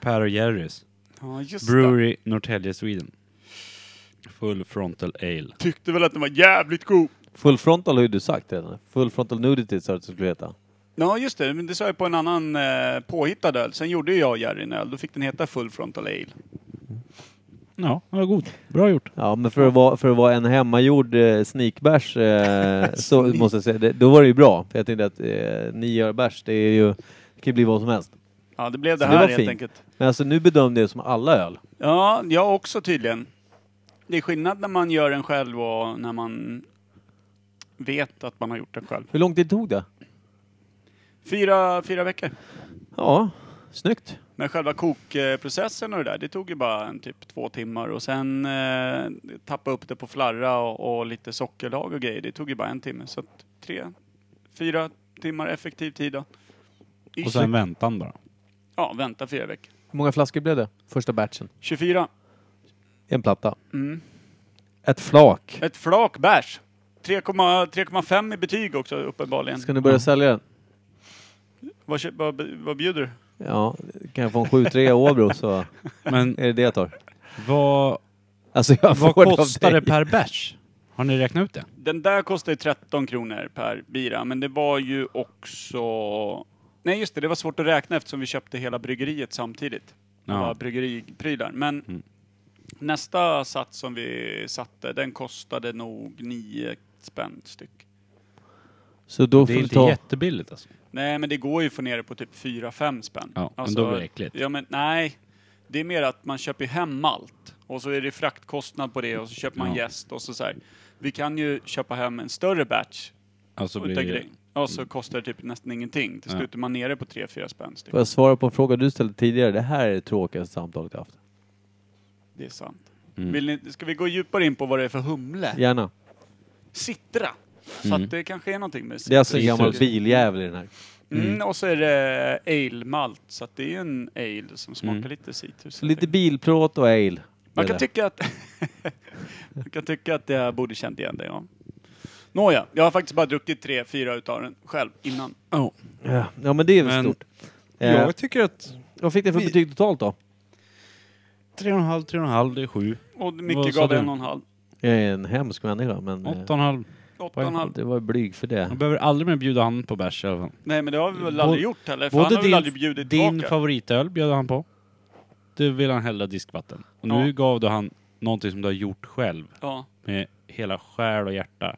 Speaker 1: Per och Jerrys.
Speaker 3: Ja, just det.
Speaker 1: Brewery Norrtälje Sweden. Full frontal ale.
Speaker 3: Tyckte väl att den var jävligt god.
Speaker 2: Full frontal har ju du sagt redan. Full frontal nudity sa du att du skulle heta.
Speaker 3: Ja, just det. Men det sa jag på en annan eh, påhittad öl. Sen gjorde ju jag och Jerry en öl. Då fick den heta Full Frontal Ale.
Speaker 1: Ja, den var god. Bra gjort.
Speaker 2: Ja, men för att vara, för att vara en hemmagjord eh, sneakbärs eh, så måste jag säga, det, då var det ju bra. För jag tänkte att eh, ni gör bärs, det är ju, det kan ju bli vad som helst.
Speaker 3: Ja, det blev det
Speaker 2: Så det
Speaker 3: här
Speaker 2: var
Speaker 3: helt
Speaker 2: fint.
Speaker 3: enkelt.
Speaker 2: Men alltså nu bedömde jag det som alla öl.
Speaker 3: Ja, jag också tydligen. Det är skillnad när man gör den själv och när man vet att man har gjort den själv.
Speaker 2: Hur lång tid tog det?
Speaker 3: Fyra, fyra veckor.
Speaker 2: Ja, snyggt.
Speaker 3: Men själva kokprocessen och det där, det tog ju bara en typ två timmar och sen eh, tappa upp det på flarra och, och lite sockerlag och grejer, det tog ju bara en timme. Så att tre, fyra timmar effektiv tid då.
Speaker 1: Och sen väntan bara.
Speaker 3: Ja, vänta fyra veckor.
Speaker 2: Hur många flaskor blev det? Första batchen.
Speaker 3: 24.
Speaker 2: En platta.
Speaker 3: Mm.
Speaker 2: Ett flak.
Speaker 3: Ett flak bärs. 3,5 i betyg också uppenbarligen.
Speaker 2: Ska ni börja sälja den?
Speaker 3: Vad, kö- vad, b- vad bjuder du?
Speaker 2: Ja, kan jag få en 7-3 i Åbro så är
Speaker 1: Men
Speaker 2: det det jag tar.
Speaker 1: vad,
Speaker 2: Alltså jag
Speaker 1: vad
Speaker 2: får av
Speaker 1: kostar
Speaker 2: dig.
Speaker 1: det per bärs? Har ni räknat ut det?
Speaker 3: Den där kostar ju 13 kronor per bira, men det var ju också... Nej just det, det var svårt att räkna eftersom vi köpte hela bryggeriet samtidigt.
Speaker 1: Ja.
Speaker 3: Alla bryggeriprylar. Men nästa sats som vi satte, den kostade nog 9 spänn styck.
Speaker 2: Så då
Speaker 1: Det
Speaker 2: får
Speaker 1: är
Speaker 2: vi
Speaker 1: inte
Speaker 2: ta...
Speaker 1: jättebilligt alltså.
Speaker 3: Nej, men det går ju att få ner det på typ 4-5 spänn. Alltså,
Speaker 1: Ja, men då blir det äckligt.
Speaker 3: Ja, men nej. Det är mer att man köper ju hem allt och så är det fraktkostnad på det och så köper man
Speaker 1: Ja.
Speaker 3: jäst och så, så här. Vi kan ju köpa hem en större batch
Speaker 1: alltså blir
Speaker 3: utav
Speaker 1: det, Mm.
Speaker 3: grej. Ja, så kostar det typ nästan ingenting. Till
Speaker 1: Ja.
Speaker 3: slut är man nere på 3-4 spänn typ. styck.
Speaker 2: Får jag svara på en fråga du ställde tidigare? Det här är det tråkigaste samtalet jag haft.
Speaker 3: Det är sant.
Speaker 1: Mm.
Speaker 3: Vill ni, ska vi gå djupare in på vad det är för humle?
Speaker 2: Gärna.
Speaker 3: Citra. Så
Speaker 1: Mm.
Speaker 3: att det kanske är någonting med
Speaker 2: Det är alltså en
Speaker 1: Citrus.
Speaker 2: gammal biljävel i den här.
Speaker 3: Mm, och så är det ale-malt, så att det är ju en ale som smakar
Speaker 1: Mm.
Speaker 3: lite citrus.
Speaker 2: Så lite bilplåt och ale.
Speaker 3: Man
Speaker 2: Det
Speaker 3: kan
Speaker 2: där.
Speaker 3: tycka att... man kan tycka att jag borde känt igen det, ja. Nåja, jag har faktiskt bara druckit tre, fyra utav den själv innan.
Speaker 1: Ja.
Speaker 2: Ja, Ja men det är väl
Speaker 1: Men-
Speaker 2: stort. Eh,
Speaker 1: Jag tycker att
Speaker 2: Vad fick den för
Speaker 1: vi-
Speaker 2: betyg totalt då?
Speaker 1: 3,5, 3,5, det är 7.
Speaker 3: Och
Speaker 1: Vad
Speaker 3: Micke
Speaker 1: sa
Speaker 3: gav
Speaker 1: du?
Speaker 3: en och en halv.
Speaker 2: Jag är en hemsk människa men... eh,
Speaker 1: 8,5.
Speaker 3: Åtta och en halv.
Speaker 2: Det var blyg för
Speaker 1: Man
Speaker 2: det.
Speaker 1: behöver aldrig mer bjuda han på bärs i alla fall.
Speaker 3: Nej men det har vi väl aldrig gjort heller, för
Speaker 1: Både
Speaker 3: han har väl
Speaker 1: din-
Speaker 3: aldrig bjudit
Speaker 1: Din
Speaker 3: tillbaka.
Speaker 1: favoritöl bjöd han på. Du vill han hälla diskvatten. Och nu
Speaker 3: Ja.
Speaker 1: gav du han någonting som du har gjort själv
Speaker 3: ja.
Speaker 1: med hela själ och hjärta.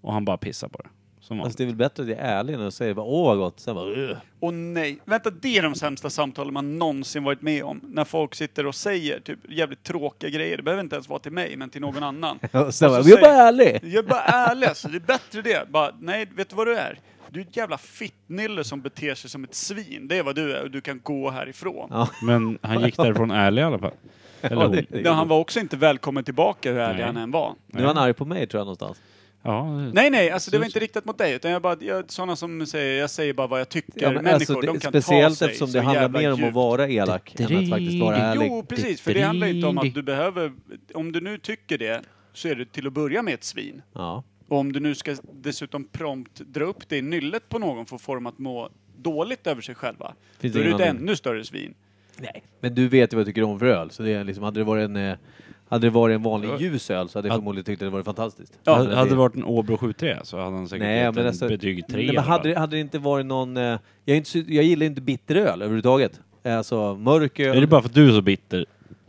Speaker 1: Och han bara pissar på det. Som
Speaker 2: Alltså
Speaker 1: vanligt.
Speaker 2: det är väl bättre att jag är ärlig än att säga bara åh vad gott, sen bara "Ugh."
Speaker 3: Och nej, vänta det är de sämsta samtalen man någonsin varit med om. När folk sitter och säger typ jävligt tråkiga grejer. Det behöver inte ens vara till mig, men till någon annan.
Speaker 2: Och sen
Speaker 3: Och
Speaker 2: bara,
Speaker 3: så
Speaker 2: vi är bara
Speaker 3: säger-
Speaker 2: ärlig!
Speaker 3: Jag är bara ärlig alltså, det är bättre det. Bara, nej, vet du vad du är? Du är ett jävla fittnylle som beter sig som ett svin. Det är vad du är och du kan gå härifrån.
Speaker 2: Ja.
Speaker 1: Men han gick därifrån ärlig i alla fall. Eller
Speaker 2: Ja, det-
Speaker 1: hon.
Speaker 2: det-
Speaker 3: Nej, han var också inte välkommen tillbaka hur ärlig
Speaker 1: Nej.
Speaker 3: han än var.
Speaker 2: Nu är han arg på mig tror jag någonstans.
Speaker 1: Ja, det-
Speaker 3: Nej, nej, alltså det var inte riktat mot dig. Utan jag bara, jag, sådana som säger, jag säger bara vad jag tycker.
Speaker 2: Ja, men
Speaker 3: Människor,
Speaker 2: alltså,
Speaker 3: de
Speaker 2: det,
Speaker 3: kan
Speaker 2: speciellt
Speaker 3: ta sig
Speaker 2: eftersom
Speaker 3: så
Speaker 2: det handlar
Speaker 3: jävla
Speaker 2: mer om
Speaker 3: djupt.
Speaker 2: att vara elak än att faktiskt vara ärlig.
Speaker 3: Jo, precis. För det handlar ju inte om att du behöver... Om du nu tycker det, så är du till att börja med ett svin.
Speaker 2: Ja.
Speaker 3: Och om du nu ska dessutom prompt dra upp det i nyllet på någon för att få dem att må dåligt över sig själva,
Speaker 2: Finns
Speaker 3: då är
Speaker 2: ingen
Speaker 3: du ett
Speaker 2: anledning.
Speaker 3: ännu större svin.
Speaker 2: Men du vet ju vad jag tycker om för öl, så det är liksom, hade det varit en, eh, hade det varit en vanlig ljus öl så hade jag
Speaker 1: Att-
Speaker 2: förmodligen tyckt att det varit fantastiskt.
Speaker 3: Ja,
Speaker 1: hade, hade det varit en Åbro 7-3 så hade han säkert
Speaker 2: Nej,
Speaker 1: gett
Speaker 2: men
Speaker 1: en
Speaker 2: alltså,
Speaker 1: betyg 3
Speaker 2: nej, men hade, det- hade det inte varit någon... eh, Jag, är inte, så- jag gillar inte bitteröl överhuvudtaget. Alltså mörk öl.
Speaker 1: Är det bara för att du är så bitter?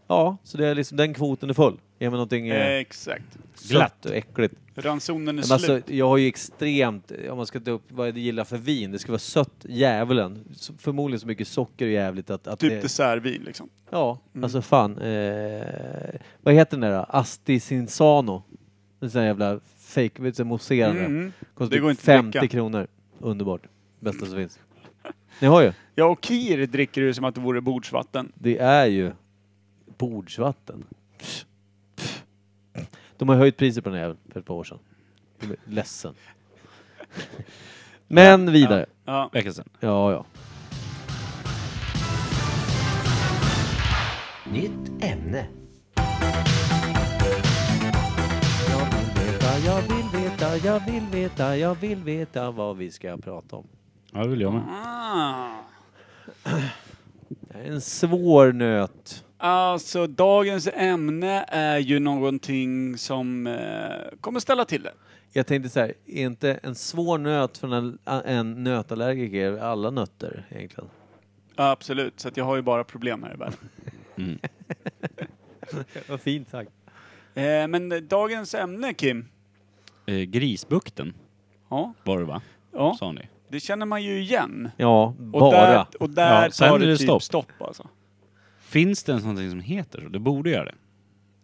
Speaker 2: Ja, så det är liksom den kvoten är full. Ge mig någonting
Speaker 3: Eh,
Speaker 2: eh,
Speaker 3: Exakt.
Speaker 2: glatt och äckligt.
Speaker 3: Ransonen är
Speaker 2: Men alltså,
Speaker 3: slut.
Speaker 2: jag har ju extremt, om man ska ta upp vad jag gillar för vin, det ska vara sött djävulen. Så- Förmodligen så mycket socker och jävligt att, att
Speaker 3: Typ dessertvin liksom.
Speaker 2: Ja, alltså fan. Eh, vad heter den där då? Asti Sinsano. En sån här jävla fake, vet du, mousserande.
Speaker 3: Mm.
Speaker 2: Kostar
Speaker 3: Det går
Speaker 2: typ
Speaker 3: inte att
Speaker 2: 50
Speaker 3: dricka.
Speaker 2: kronor. Underbart. Bästa som finns. Ni har ju.
Speaker 3: Ja, och kir dricker du som att det vore bordsvatten.
Speaker 2: Det är ju bordsvatten. Pff, pff. De har höjt priset på den här jäveln för ett par år sedan. Jag blir ledsen. Men vidare.
Speaker 3: Ja.
Speaker 1: Veckan sedan.
Speaker 2: Ja, ja.
Speaker 7: Nytt ämne.
Speaker 2: Jag vill veta, jag vill veta, jag vill veta, jag vill veta vad vi ska prata om.
Speaker 1: Ja, det vill jag med.
Speaker 3: Ah.
Speaker 2: Det är en svår nöt.
Speaker 3: Alltså, dagens ämne är ju någonting som eh, kommer ställa till det.
Speaker 2: Jag tänkte så här, är inte en svår nöt för en, en nötallergiker alla nötter egentligen?
Speaker 3: Ja, absolut, så att jag har ju bara problem här i världen.
Speaker 1: Mm.
Speaker 2: Vad fint sagt.
Speaker 3: Eh, men eh, dagens ämne, Kim.
Speaker 1: Eh, Grisbukten
Speaker 3: Ja,
Speaker 1: var det va?
Speaker 3: ja,
Speaker 1: Sa ni.
Speaker 3: det känner man ju igen.
Speaker 2: Ja,
Speaker 3: Och
Speaker 2: bara.
Speaker 3: där, och där
Speaker 1: Ja, sen
Speaker 3: tar
Speaker 1: är
Speaker 3: det
Speaker 1: det
Speaker 3: typ stopp,
Speaker 1: stopp.
Speaker 3: alltså.
Speaker 1: Finns det ens någonting som heter så? Det borde göra det.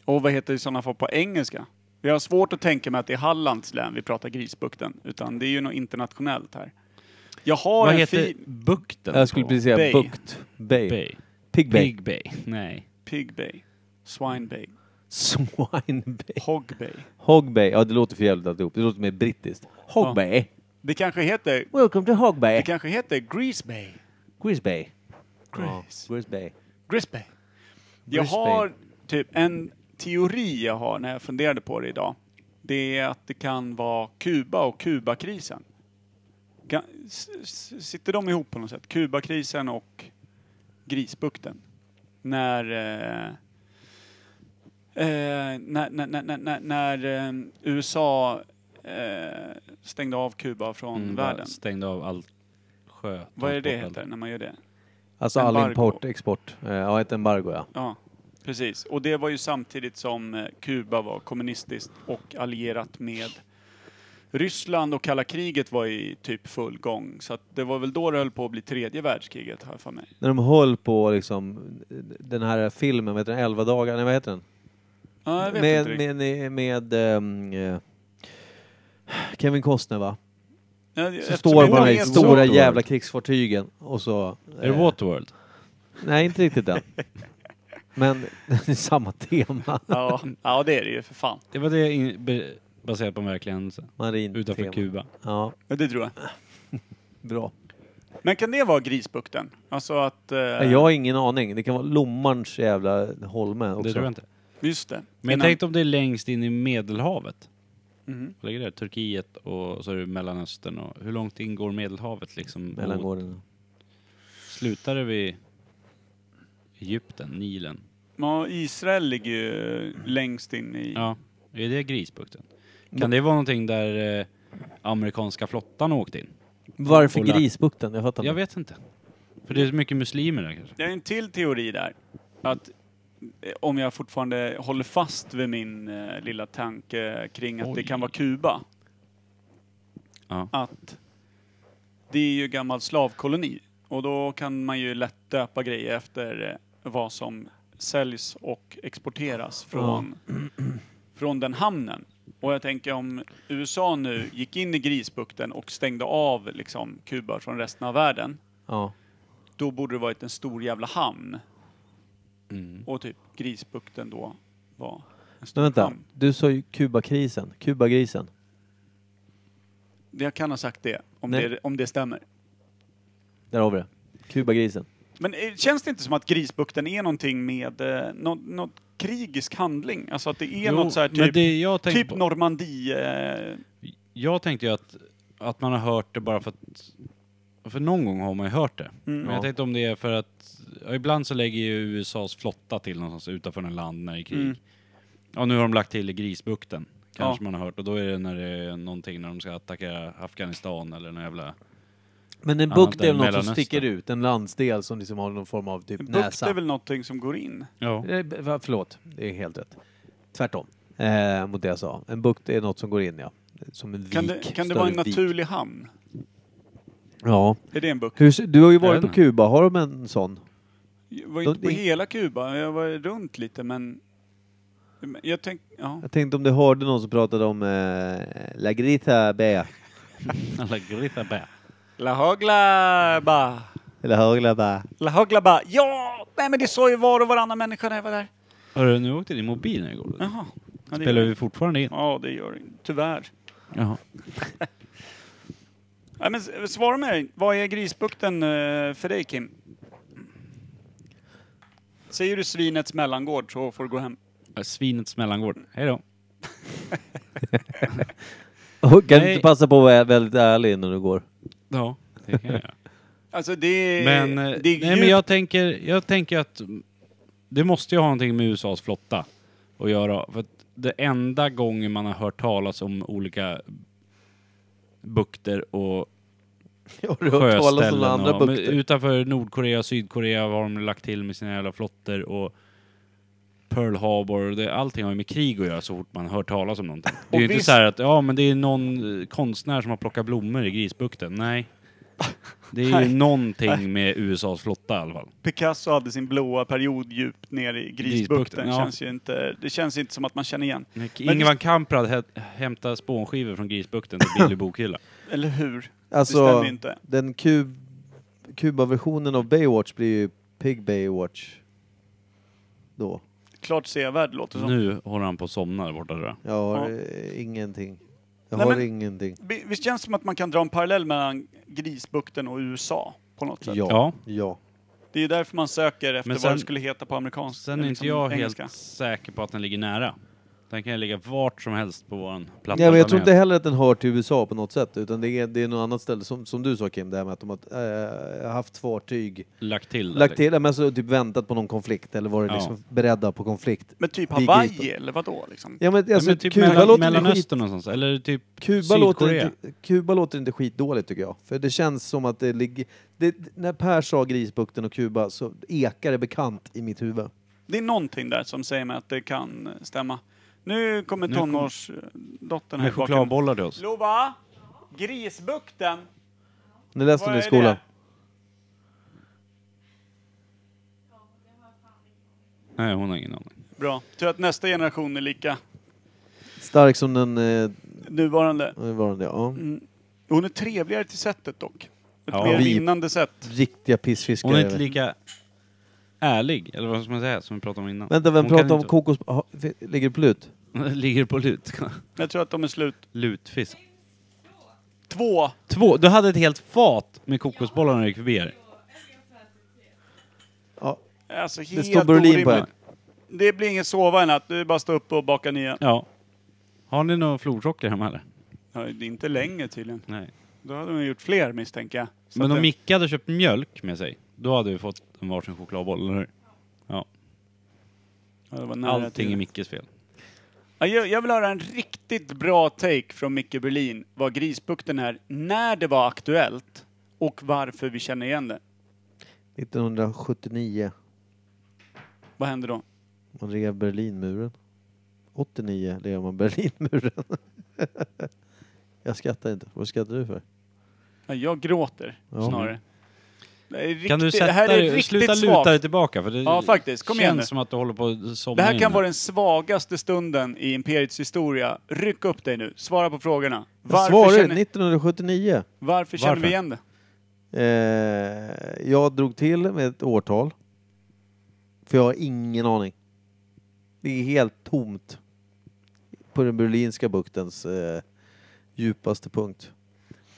Speaker 3: Och vad heter det i sådana fall på engelska? Jag har svårt att tänka mig att det är Hallands län vi pratar Grisbukten, utan det är ju något internationellt här. Jag har
Speaker 1: Vad
Speaker 3: en
Speaker 1: heter
Speaker 3: fin...
Speaker 1: bukten?
Speaker 2: Jag skulle
Speaker 1: på?
Speaker 2: precis säga
Speaker 3: Bay.
Speaker 2: bukt. Bay.
Speaker 1: Bay.
Speaker 2: Pig bay.
Speaker 1: Big Bay. Nej. Mm,
Speaker 3: Pig Bay, Swine Bay,
Speaker 2: Swine bay.
Speaker 3: Hog Bay.
Speaker 2: Hog bay. Ja, det låter för jävligt alltihop. Det låter mer brittiskt. Hog
Speaker 3: Ja.
Speaker 2: bay.
Speaker 3: Det kanske heter...
Speaker 2: Welcome to Hog
Speaker 3: Det
Speaker 2: bay.
Speaker 3: kanske heter Grease Bay.
Speaker 2: Grease bay. Ja,
Speaker 3: Grease.
Speaker 2: Grease bay.
Speaker 3: Grisbay. Jag
Speaker 2: Grisbay.
Speaker 3: har typ en teori jag har när jag funderade på det idag. Det är att det kan vara Kuba och Kubakrisen. Kan- s- s- Sitter de ihop på något sätt? Kubakrisen och Grisbukten. När... Eh, eh, när, när, när, när, när, när eh, USA eh, stängde av Kuba från
Speaker 1: Mm, bara
Speaker 3: världen.
Speaker 1: Stängde av allt sjö.
Speaker 3: Vad är det
Speaker 1: transport,
Speaker 3: heter när man gör det?
Speaker 2: Alltså
Speaker 3: Embargo.
Speaker 2: all import, export. Eh, Ja, ett embargo ja.
Speaker 3: Ja, precis. Och det var ju samtidigt som eh, Kuba var kommunistiskt och allierat med Ryssland och kalla kriget var i typ full gång. Så att det var väl då det höll på att bli tredje världskriget, har jag för mig.
Speaker 2: När de höll på liksom den här filmen, vad heter den, 11 dagar, nej vad heter den?
Speaker 3: Ja, jag vet
Speaker 2: med,
Speaker 3: inte
Speaker 2: med,
Speaker 3: riktigt.
Speaker 2: med, ehm, eh, Kevin Costner va?
Speaker 3: Ja,
Speaker 2: Så
Speaker 3: eftersom
Speaker 2: står
Speaker 3: jag
Speaker 2: på de här
Speaker 3: vet så-
Speaker 2: stora
Speaker 1: så-
Speaker 2: jävla krigsfartygen och så...
Speaker 1: Är det
Speaker 2: eh,
Speaker 1: Waterworld?
Speaker 2: Nej, inte riktigt den. Men det är samma tema.
Speaker 3: Ja, ja, det är det ju för fan.
Speaker 1: Det var det in, be, baserat på en verklig händelse.
Speaker 2: Marin
Speaker 1: Utanför
Speaker 2: tema.
Speaker 1: Kuba.
Speaker 2: Ja,
Speaker 3: Ja, det tror jag.
Speaker 2: bra.
Speaker 3: Men kan det vara Grisbukten? Alltså att... Eh,
Speaker 2: Jag har ingen aning. Det kan vara Lommarns jävla holme också.
Speaker 1: Det tror jag inte.
Speaker 3: Just det.
Speaker 1: Men jag
Speaker 3: Innan-
Speaker 1: tänkte om det är längst in i Medelhavet.
Speaker 3: Mhm.
Speaker 1: Vad ligger det? Turkiet och så är det Mellanöstern. Och hur långt ingår Medelhavet liksom? mot-
Speaker 2: Mellangården.
Speaker 1: Slutar det vid Egypten, Nilen?
Speaker 3: Ja, Israel ligger ju längst in i...
Speaker 1: Ja, är det Grisbukten? Kan det vara någonting där eh, amerikanska flottan åkte in?
Speaker 2: Varför
Speaker 1: Kolla.
Speaker 2: Grisbukten? Jag fattar
Speaker 1: Jag
Speaker 2: inte.
Speaker 1: vet inte. För det är så mycket muslimer där kanske.
Speaker 3: Det är en till teori där. Att eh, om jag fortfarande håller fast vid min eh, lilla tanke kring att det
Speaker 1: Oj.
Speaker 3: kan vara Kuba.
Speaker 1: Ja.
Speaker 3: Att det är ju gammal slavkoloni. Och då kan man ju lätt döpa grejer efter eh, vad som säljs och exporteras från, från den hamnen. Och jag tänker om USA nu gick in i Grisbukten och stängde av liksom Kuba från resten av världen
Speaker 2: Ja.
Speaker 3: då borde det varit en stor jävla hamn. Och typ Grisbukten då var en stor
Speaker 2: Men vänta,
Speaker 3: hamn.
Speaker 2: du sa ju Kubakrisen. Kubagrisen.
Speaker 3: Jag kan ha sagt det om,
Speaker 2: Nej.
Speaker 3: det, om det stämmer.
Speaker 2: Där har vi det. Kubagrisen.
Speaker 3: Men eh, känns det inte som att Grisbukten är någonting med eh, något, något krigisk handling? Alltså att det är något så här
Speaker 1: men
Speaker 3: typ,
Speaker 1: det jag tänkte,
Speaker 3: typ
Speaker 1: på,
Speaker 3: Normandie... Eh,
Speaker 1: jag tänkte ju att, att man har hört det bara för att... För någon gång har man ju hört det. Men jag
Speaker 2: Ja.
Speaker 1: tänkte om det är för att... ja, Ibland så lägger ju USAs flotta till någonstans utanför en land när det är krig.
Speaker 3: Mm.
Speaker 1: Ja, nu har de lagt till i Grisbukten. Kanske man har hört. Och då är det när det är någonting när de ska attackera Afghanistan eller någon jävla...
Speaker 2: Men en
Speaker 1: Ja,
Speaker 2: bukt
Speaker 1: där
Speaker 2: är väl något som
Speaker 1: Mellanöstern.
Speaker 2: sticker ut? En landsdel som liksom har någon form av typ
Speaker 3: bukt
Speaker 2: näsa?
Speaker 3: är väl någonting som går in?
Speaker 1: Ja.
Speaker 2: Eh, b- va- Förlåt, det är helt rätt. Tvärtom eh, mot det jag sa. En bukt är något som går in, ja. Som en vik.
Speaker 3: Kan det, kan det
Speaker 2: större
Speaker 3: vara en
Speaker 2: vik.
Speaker 3: naturlig hamn?
Speaker 2: Ja.
Speaker 3: Är det en bukt?
Speaker 2: Hur, ser- du har ju varit
Speaker 1: vet
Speaker 2: på
Speaker 1: inte.
Speaker 2: Kuba, har de en sån?
Speaker 3: Jag var
Speaker 2: Då-
Speaker 3: inte på
Speaker 2: det-
Speaker 3: hela Kuba, jag var runt lite men... men Jag tänkte... Ja.
Speaker 2: Jag tänkte om du hörde någon som pratade om eh, La Grita B.
Speaker 1: Alla gritabä.
Speaker 3: La Hagla ba.
Speaker 2: Eller Högla B.
Speaker 3: La Hagla bara, ja! Nej men det sa ju var och varannan människa när jag var där.
Speaker 1: Hörru, nu åkte din mobil ner igår.
Speaker 3: Jaha. Ja, det
Speaker 1: Spelar
Speaker 3: gör
Speaker 1: vi fortfarande in?
Speaker 3: Ja, det gör det. Tyvärr.
Speaker 1: Jaha.
Speaker 3: Nej, men s- svara mig, vad är Grisbukten eh, för dig Kim? Säger du svinets mellangård så får du gå hem.
Speaker 1: Svinets mellangård. Hej då.
Speaker 2: Kan du
Speaker 1: Nej.
Speaker 2: inte passa på att vara väldigt ärlig när du går?
Speaker 1: Ja, det kan jag göra.
Speaker 3: Alltså det är...
Speaker 1: Men, eh,
Speaker 3: det är
Speaker 1: nej, men jag, tänker, jag tänker att det måste ju ha någonting med USAs flotta att göra. För att det enda gången man har hört talas om olika bukter och
Speaker 2: Ja, du
Speaker 1: sjöställen. och, men utanför Nordkorea och Sydkorea har de lagt till med sina jävla flottor och Pearl Harbor. och Det, allting har ju med krig att göra så fort man hör talas om någonting. Det är ju
Speaker 3: Och
Speaker 1: inte
Speaker 3: visst-
Speaker 1: så här att ja, men det är någon eh, konstnär som har plockat blommor i Grisbukten. Nej. Det är ju
Speaker 3: Nej.
Speaker 1: någonting med USAs flotta i alla fall.
Speaker 3: Picasso hade sin blåa period djupt ner i Grisbukten.
Speaker 1: Grisbukten, ja.
Speaker 3: känns ju inte, det känns inte som att man känner igen.
Speaker 1: Ingvar Kamprad hä- hämtar spånskivor från Grisbukten till Billy bokhylla.
Speaker 3: Eller hur? det
Speaker 2: Alltså,
Speaker 3: stämmer inte.
Speaker 2: den kub, Kuba-versionen av Baywatch blir ju Pig Baywatch. Då.
Speaker 3: Klart sevärd låter som.
Speaker 1: Nu håller han på att somna där borta tror jag.
Speaker 2: Jag har
Speaker 3: Ja.
Speaker 2: eh, ingenting. Jag
Speaker 3: Nej,
Speaker 2: har
Speaker 3: men-
Speaker 2: ingenting.
Speaker 3: Vi- Visst känns det som att man kan dra en parallell mellan Grisbukten och USA på något sätt?
Speaker 2: Ja.
Speaker 1: Ja.
Speaker 2: Ja.
Speaker 3: Det är ju därför man söker efter
Speaker 1: Men sen-
Speaker 3: vad det skulle heta på amerikanskt.
Speaker 1: Sen är
Speaker 3: eller
Speaker 1: inte jag
Speaker 3: engelska.
Speaker 1: helt säker på att den ligger nära. Den kan ju ligga vart som helst på våran platta.
Speaker 2: Nej, men jag tror
Speaker 1: planet.
Speaker 2: inte heller att den hör till USA på något sätt. Utan det är, det är något annat ställe, som, som du sa Kim, det här med att de har eh, haft fartyg.
Speaker 1: Lagt till. liksom.
Speaker 2: Lagt till, men alltså, typ väntat på någon konflikt eller varit
Speaker 1: Ja.
Speaker 2: liksom beredda på konflikt.
Speaker 3: Men typ
Speaker 2: Det är
Speaker 3: Hawaii
Speaker 2: Grisbukten.
Speaker 3: eller vadå liksom?
Speaker 2: Ja men alltså,
Speaker 1: ja, men typ
Speaker 2: Kuba,
Speaker 1: mellan,
Speaker 2: låter inte skit,
Speaker 1: Mellanöstern någonstans. Eller typ
Speaker 2: Kuba,
Speaker 1: Sydkorea.
Speaker 2: låter inte, Kuba låter inte skitdåligt tycker jag. För det känns som att det ligger... Det, när Per sa Grisbukten och Kuba så ekar det bekant i mitt huvud.
Speaker 3: Det är någonting där som säger mig att det kan eh, stämma. Nu kommer
Speaker 1: Nu kom-
Speaker 3: tonårsdottern här
Speaker 1: Med
Speaker 3: i bakgrunden.
Speaker 1: chokladbollar till oss.
Speaker 3: Lova! Grisbukten!
Speaker 2: Ni läste
Speaker 3: Vad
Speaker 2: den i
Speaker 3: är
Speaker 2: skolan?
Speaker 3: det?
Speaker 1: Nej, hon har ingen aning.
Speaker 3: Bra. Tur att nästa generation är lika
Speaker 2: Stark som den eh,
Speaker 3: nuvarande.
Speaker 2: nuvarande, ja.
Speaker 1: Mm.
Speaker 3: Hon är trevligare till sättet dock. Ett
Speaker 1: Ja.
Speaker 3: mer
Speaker 2: Vi-
Speaker 3: vinnande sätt.
Speaker 2: Riktiga pissfiskare.
Speaker 1: Hon är inte lika ärlig, eller vad ska man säga, som vi pratade om innan.
Speaker 2: Vänta, vem
Speaker 1: Hon
Speaker 2: pratar
Speaker 1: kan
Speaker 2: om kokos... ha, fi- Ligger det på lut?
Speaker 1: inte- Ligger på lut.
Speaker 3: Jag tror att de är slut.
Speaker 1: Lutfisk.
Speaker 3: Två!
Speaker 1: Två. Du hade ett helt fat med kokosbollar när du gick förbi här.
Speaker 2: Ja.
Speaker 3: Alltså
Speaker 2: Det
Speaker 3: helt
Speaker 2: står Berlin på
Speaker 3: orimligt.
Speaker 2: en.
Speaker 3: Det blir ingen sova i natt. Du är bara att stå upp och baka nya.
Speaker 1: Ja. Har ni några florsocker hemma eller?
Speaker 3: Ja, det är inte länge tydligen.
Speaker 1: Nej.
Speaker 3: Då hade de gjort fler misstänker jag. Så
Speaker 1: Men
Speaker 3: att
Speaker 1: om
Speaker 3: det-
Speaker 1: Micke hade köpt mjölk med sig, då hade vi fått en varsin chokladboll, eller hur?
Speaker 3: ja, det var nära
Speaker 1: Allting
Speaker 3: till.
Speaker 1: är Mickes fel.
Speaker 3: Ja, jag, jag vill höra en riktigt bra take från Micke Berlin vad Grisbukten är, när det var aktuellt och varför vi känner igen det.
Speaker 2: 1979.
Speaker 3: Vad hände då?
Speaker 2: Man rev Berlinmuren. 89 rev man Berlinmuren. jag skrattar inte. Vad skrattar du för?
Speaker 3: Ja, jag gråter
Speaker 2: Ja.
Speaker 3: snarare. Det, är riktigt,
Speaker 1: Kan du sätta
Speaker 3: det här är
Speaker 1: dig,
Speaker 3: riktigt
Speaker 1: sluta luta
Speaker 3: svagt.
Speaker 1: dig tillbaka för det
Speaker 3: Ja, faktiskt. Kom
Speaker 1: känns
Speaker 3: igen nu.
Speaker 1: som att du håller på att somna
Speaker 3: Det här
Speaker 1: in
Speaker 3: kan vara den svagaste stunden i Imperiets historia. Ryck upp dig nu, svara på frågorna.
Speaker 2: Jag
Speaker 3: Varför,
Speaker 2: svarar
Speaker 3: känner,
Speaker 2: 1979.
Speaker 3: varför känner
Speaker 1: Varför?
Speaker 3: vi igen det?
Speaker 2: Eh, jag drog till med ett årtal. För jag har ingen aning. Det är helt tomt. På den Berlinska buktens eh, djupaste punkt.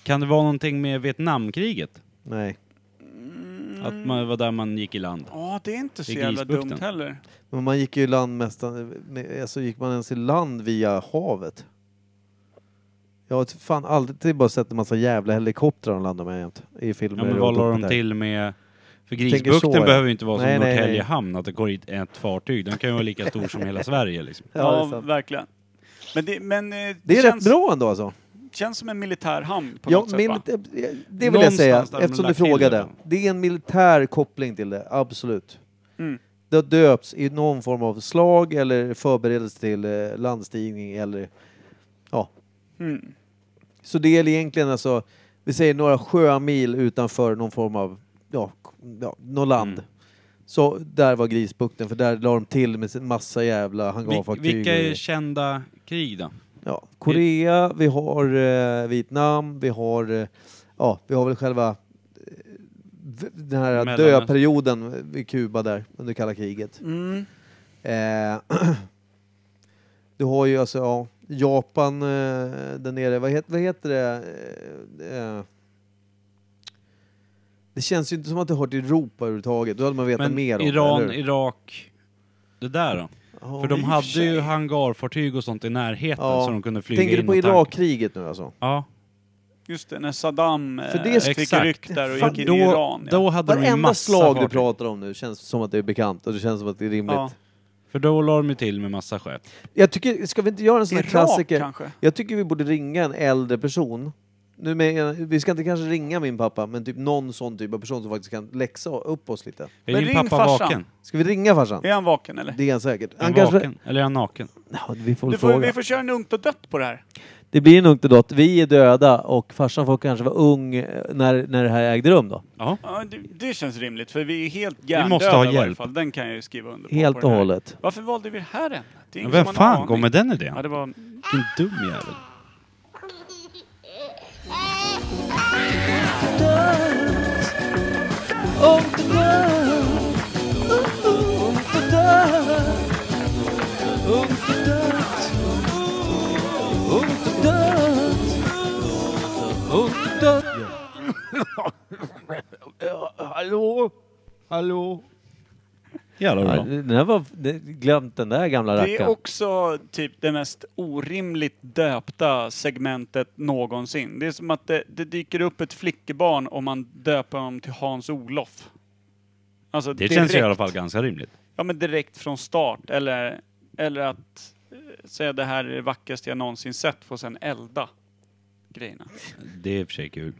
Speaker 1: Kan det vara någonting med Vietnamkriget?
Speaker 2: Nej.
Speaker 3: Mm.
Speaker 1: Att man var där man gick i land?
Speaker 3: Ja, det är inte så
Speaker 1: Det är
Speaker 3: jävla
Speaker 1: Grisbukten.
Speaker 3: dumt heller.
Speaker 2: Men man gick ju i land nästan, med- alltså gick man ens i land via havet? Jag har fan aldrig bara sett en massa jävla helikoptrar de landar med jämt i filmer.
Speaker 1: Ja, men
Speaker 2: och
Speaker 1: vad la de
Speaker 2: dokumentärer.
Speaker 1: till med... För
Speaker 2: tänker
Speaker 1: Grisbukten
Speaker 2: så, ja.
Speaker 1: behöver ju inte vara som
Speaker 2: Nej, nej, nej.
Speaker 1: Norrtälje hamn, att det går hit ett fartyg. Den kan ju vara lika stor som hela Sverige liksom.
Speaker 2: Ja, det
Speaker 3: Ja,
Speaker 2: är sant.
Speaker 3: verkligen. Men det, men, eh,
Speaker 2: Det är
Speaker 3: känns,
Speaker 2: rätt bra ändå alltså.
Speaker 3: känns som en militär hamn på
Speaker 2: Ja,
Speaker 3: något sätt.
Speaker 2: mil-
Speaker 3: va?
Speaker 2: det vill jag
Speaker 1: Någonstans
Speaker 2: säga,
Speaker 1: där de
Speaker 2: eftersom du
Speaker 1: lagt till
Speaker 2: frågade.
Speaker 1: det.
Speaker 2: Det. är en militär koppling till det, absolut.
Speaker 3: Mm.
Speaker 2: Det har döpts i någon form av slag eller förberedelse till eh, landstigning eller... Ja.
Speaker 3: Mm.
Speaker 2: Så det är egentligen alltså, vi säger några sjömil utanför någon form av, ja, k- ja något land.
Speaker 1: Mm.
Speaker 2: Så där var Grisbukten, för där la de till med sin massa jävla
Speaker 1: Vil-
Speaker 2: hangarfartyg.
Speaker 1: vilka
Speaker 2: och-
Speaker 1: är kända krig då?
Speaker 2: Ja, Korea, vi har eh, Vietnam, vi har, eh, ja, vi har väl själva eh, v- den här
Speaker 1: Mellanöstern.
Speaker 2: döperioden vid Kuba där under kalla kriget.
Speaker 3: Mm.
Speaker 2: Eh, du har ju alltså, ja, Japan eh, där nere, vad, het, vad heter det? Eh, eh, det känns ju inte som att det hör till Europa överhuvudtaget, då hade man vetat
Speaker 1: Men
Speaker 2: mer om
Speaker 1: Iran,
Speaker 2: det. eller hur?
Speaker 1: Irak, det där då?
Speaker 2: Ja.
Speaker 1: För de hade ju hangarfartyg och sånt i närheten
Speaker 2: Ja.
Speaker 1: så de kunde flyga
Speaker 2: Tänker
Speaker 1: in
Speaker 2: du på
Speaker 1: och tanka.
Speaker 2: Irakkriget nu alltså?
Speaker 1: Ja,
Speaker 3: Just det, när Saddam eh,
Speaker 2: För det-
Speaker 3: fick
Speaker 1: Exakt.
Speaker 3: ryck där och
Speaker 2: Fan,
Speaker 3: gick in i
Speaker 1: då,
Speaker 3: Iran. Ja.
Speaker 1: då hade de ju
Speaker 2: Varenda
Speaker 1: massa
Speaker 2: slag du
Speaker 1: fartyg.
Speaker 2: pratar om nu känns som att det är bekant och det känns som att det är rimligt.
Speaker 3: Ja.
Speaker 1: För då la de ju till med massa skepp.
Speaker 2: Jag tycker, ska vi inte göra en sån här
Speaker 3: Irak
Speaker 2: klassiker?
Speaker 3: kanske?
Speaker 2: Jag tycker vi borde ringa en äldre person. Nu med, vi ska inte kanske ringa min pappa, men typ någon sån typ av person som faktiskt kan läxa upp oss lite.
Speaker 1: Är
Speaker 3: Men
Speaker 1: din
Speaker 3: ring
Speaker 1: pappa
Speaker 3: farsan.
Speaker 1: vaken?
Speaker 2: Ska vi ringa farsan?
Speaker 3: Är han vaken eller?
Speaker 2: Det är han säkert.
Speaker 1: Är Han
Speaker 2: Han kanske,
Speaker 1: vaken? Eller är han naken?
Speaker 2: ja, vi får, väl
Speaker 3: Du får,
Speaker 2: fråga.
Speaker 3: vi får köra en ungt och dött på det här.
Speaker 2: Det blir en ungt och dött. Vi är döda och farsan får kanske vara ung eh, när, när det här ägde rum då.
Speaker 1: Ja.
Speaker 3: Ja, det, det känns rimligt för vi är helt
Speaker 1: Vi
Speaker 3: hjärndöda
Speaker 1: måste ha
Speaker 3: i varje
Speaker 1: hjälp.
Speaker 3: fall. Den kan jag ju skriva under på. på
Speaker 2: Helt
Speaker 3: den
Speaker 2: och
Speaker 3: här.
Speaker 2: hållet.
Speaker 3: Varför valde vi det här ämnet? Det är ingen
Speaker 1: Vem
Speaker 3: som har en
Speaker 1: fan
Speaker 3: aning.
Speaker 1: kom med den
Speaker 3: Ja,
Speaker 1: idén?
Speaker 3: det var...
Speaker 1: Vilken dum jävel.
Speaker 8: Hallå? Hallå?
Speaker 1: Jävla bra.
Speaker 2: Ja, den här var, det- glömt den där gamla
Speaker 3: Det är
Speaker 2: rackaren.
Speaker 3: också typ det mest orimligt döpta segmentet någonsin. Det är som att det, det dyker upp ett flickebarn om man döper honom till Hans-Olof. Alltså
Speaker 1: Det
Speaker 3: direkt,
Speaker 1: känns ju i alla fall ganska rimligt.
Speaker 3: Ja men direkt från start. Eller, eller att eh, säga det här är det vackraste jag någonsin sett och sen elda grejerna.
Speaker 1: Det är i och för sig kul.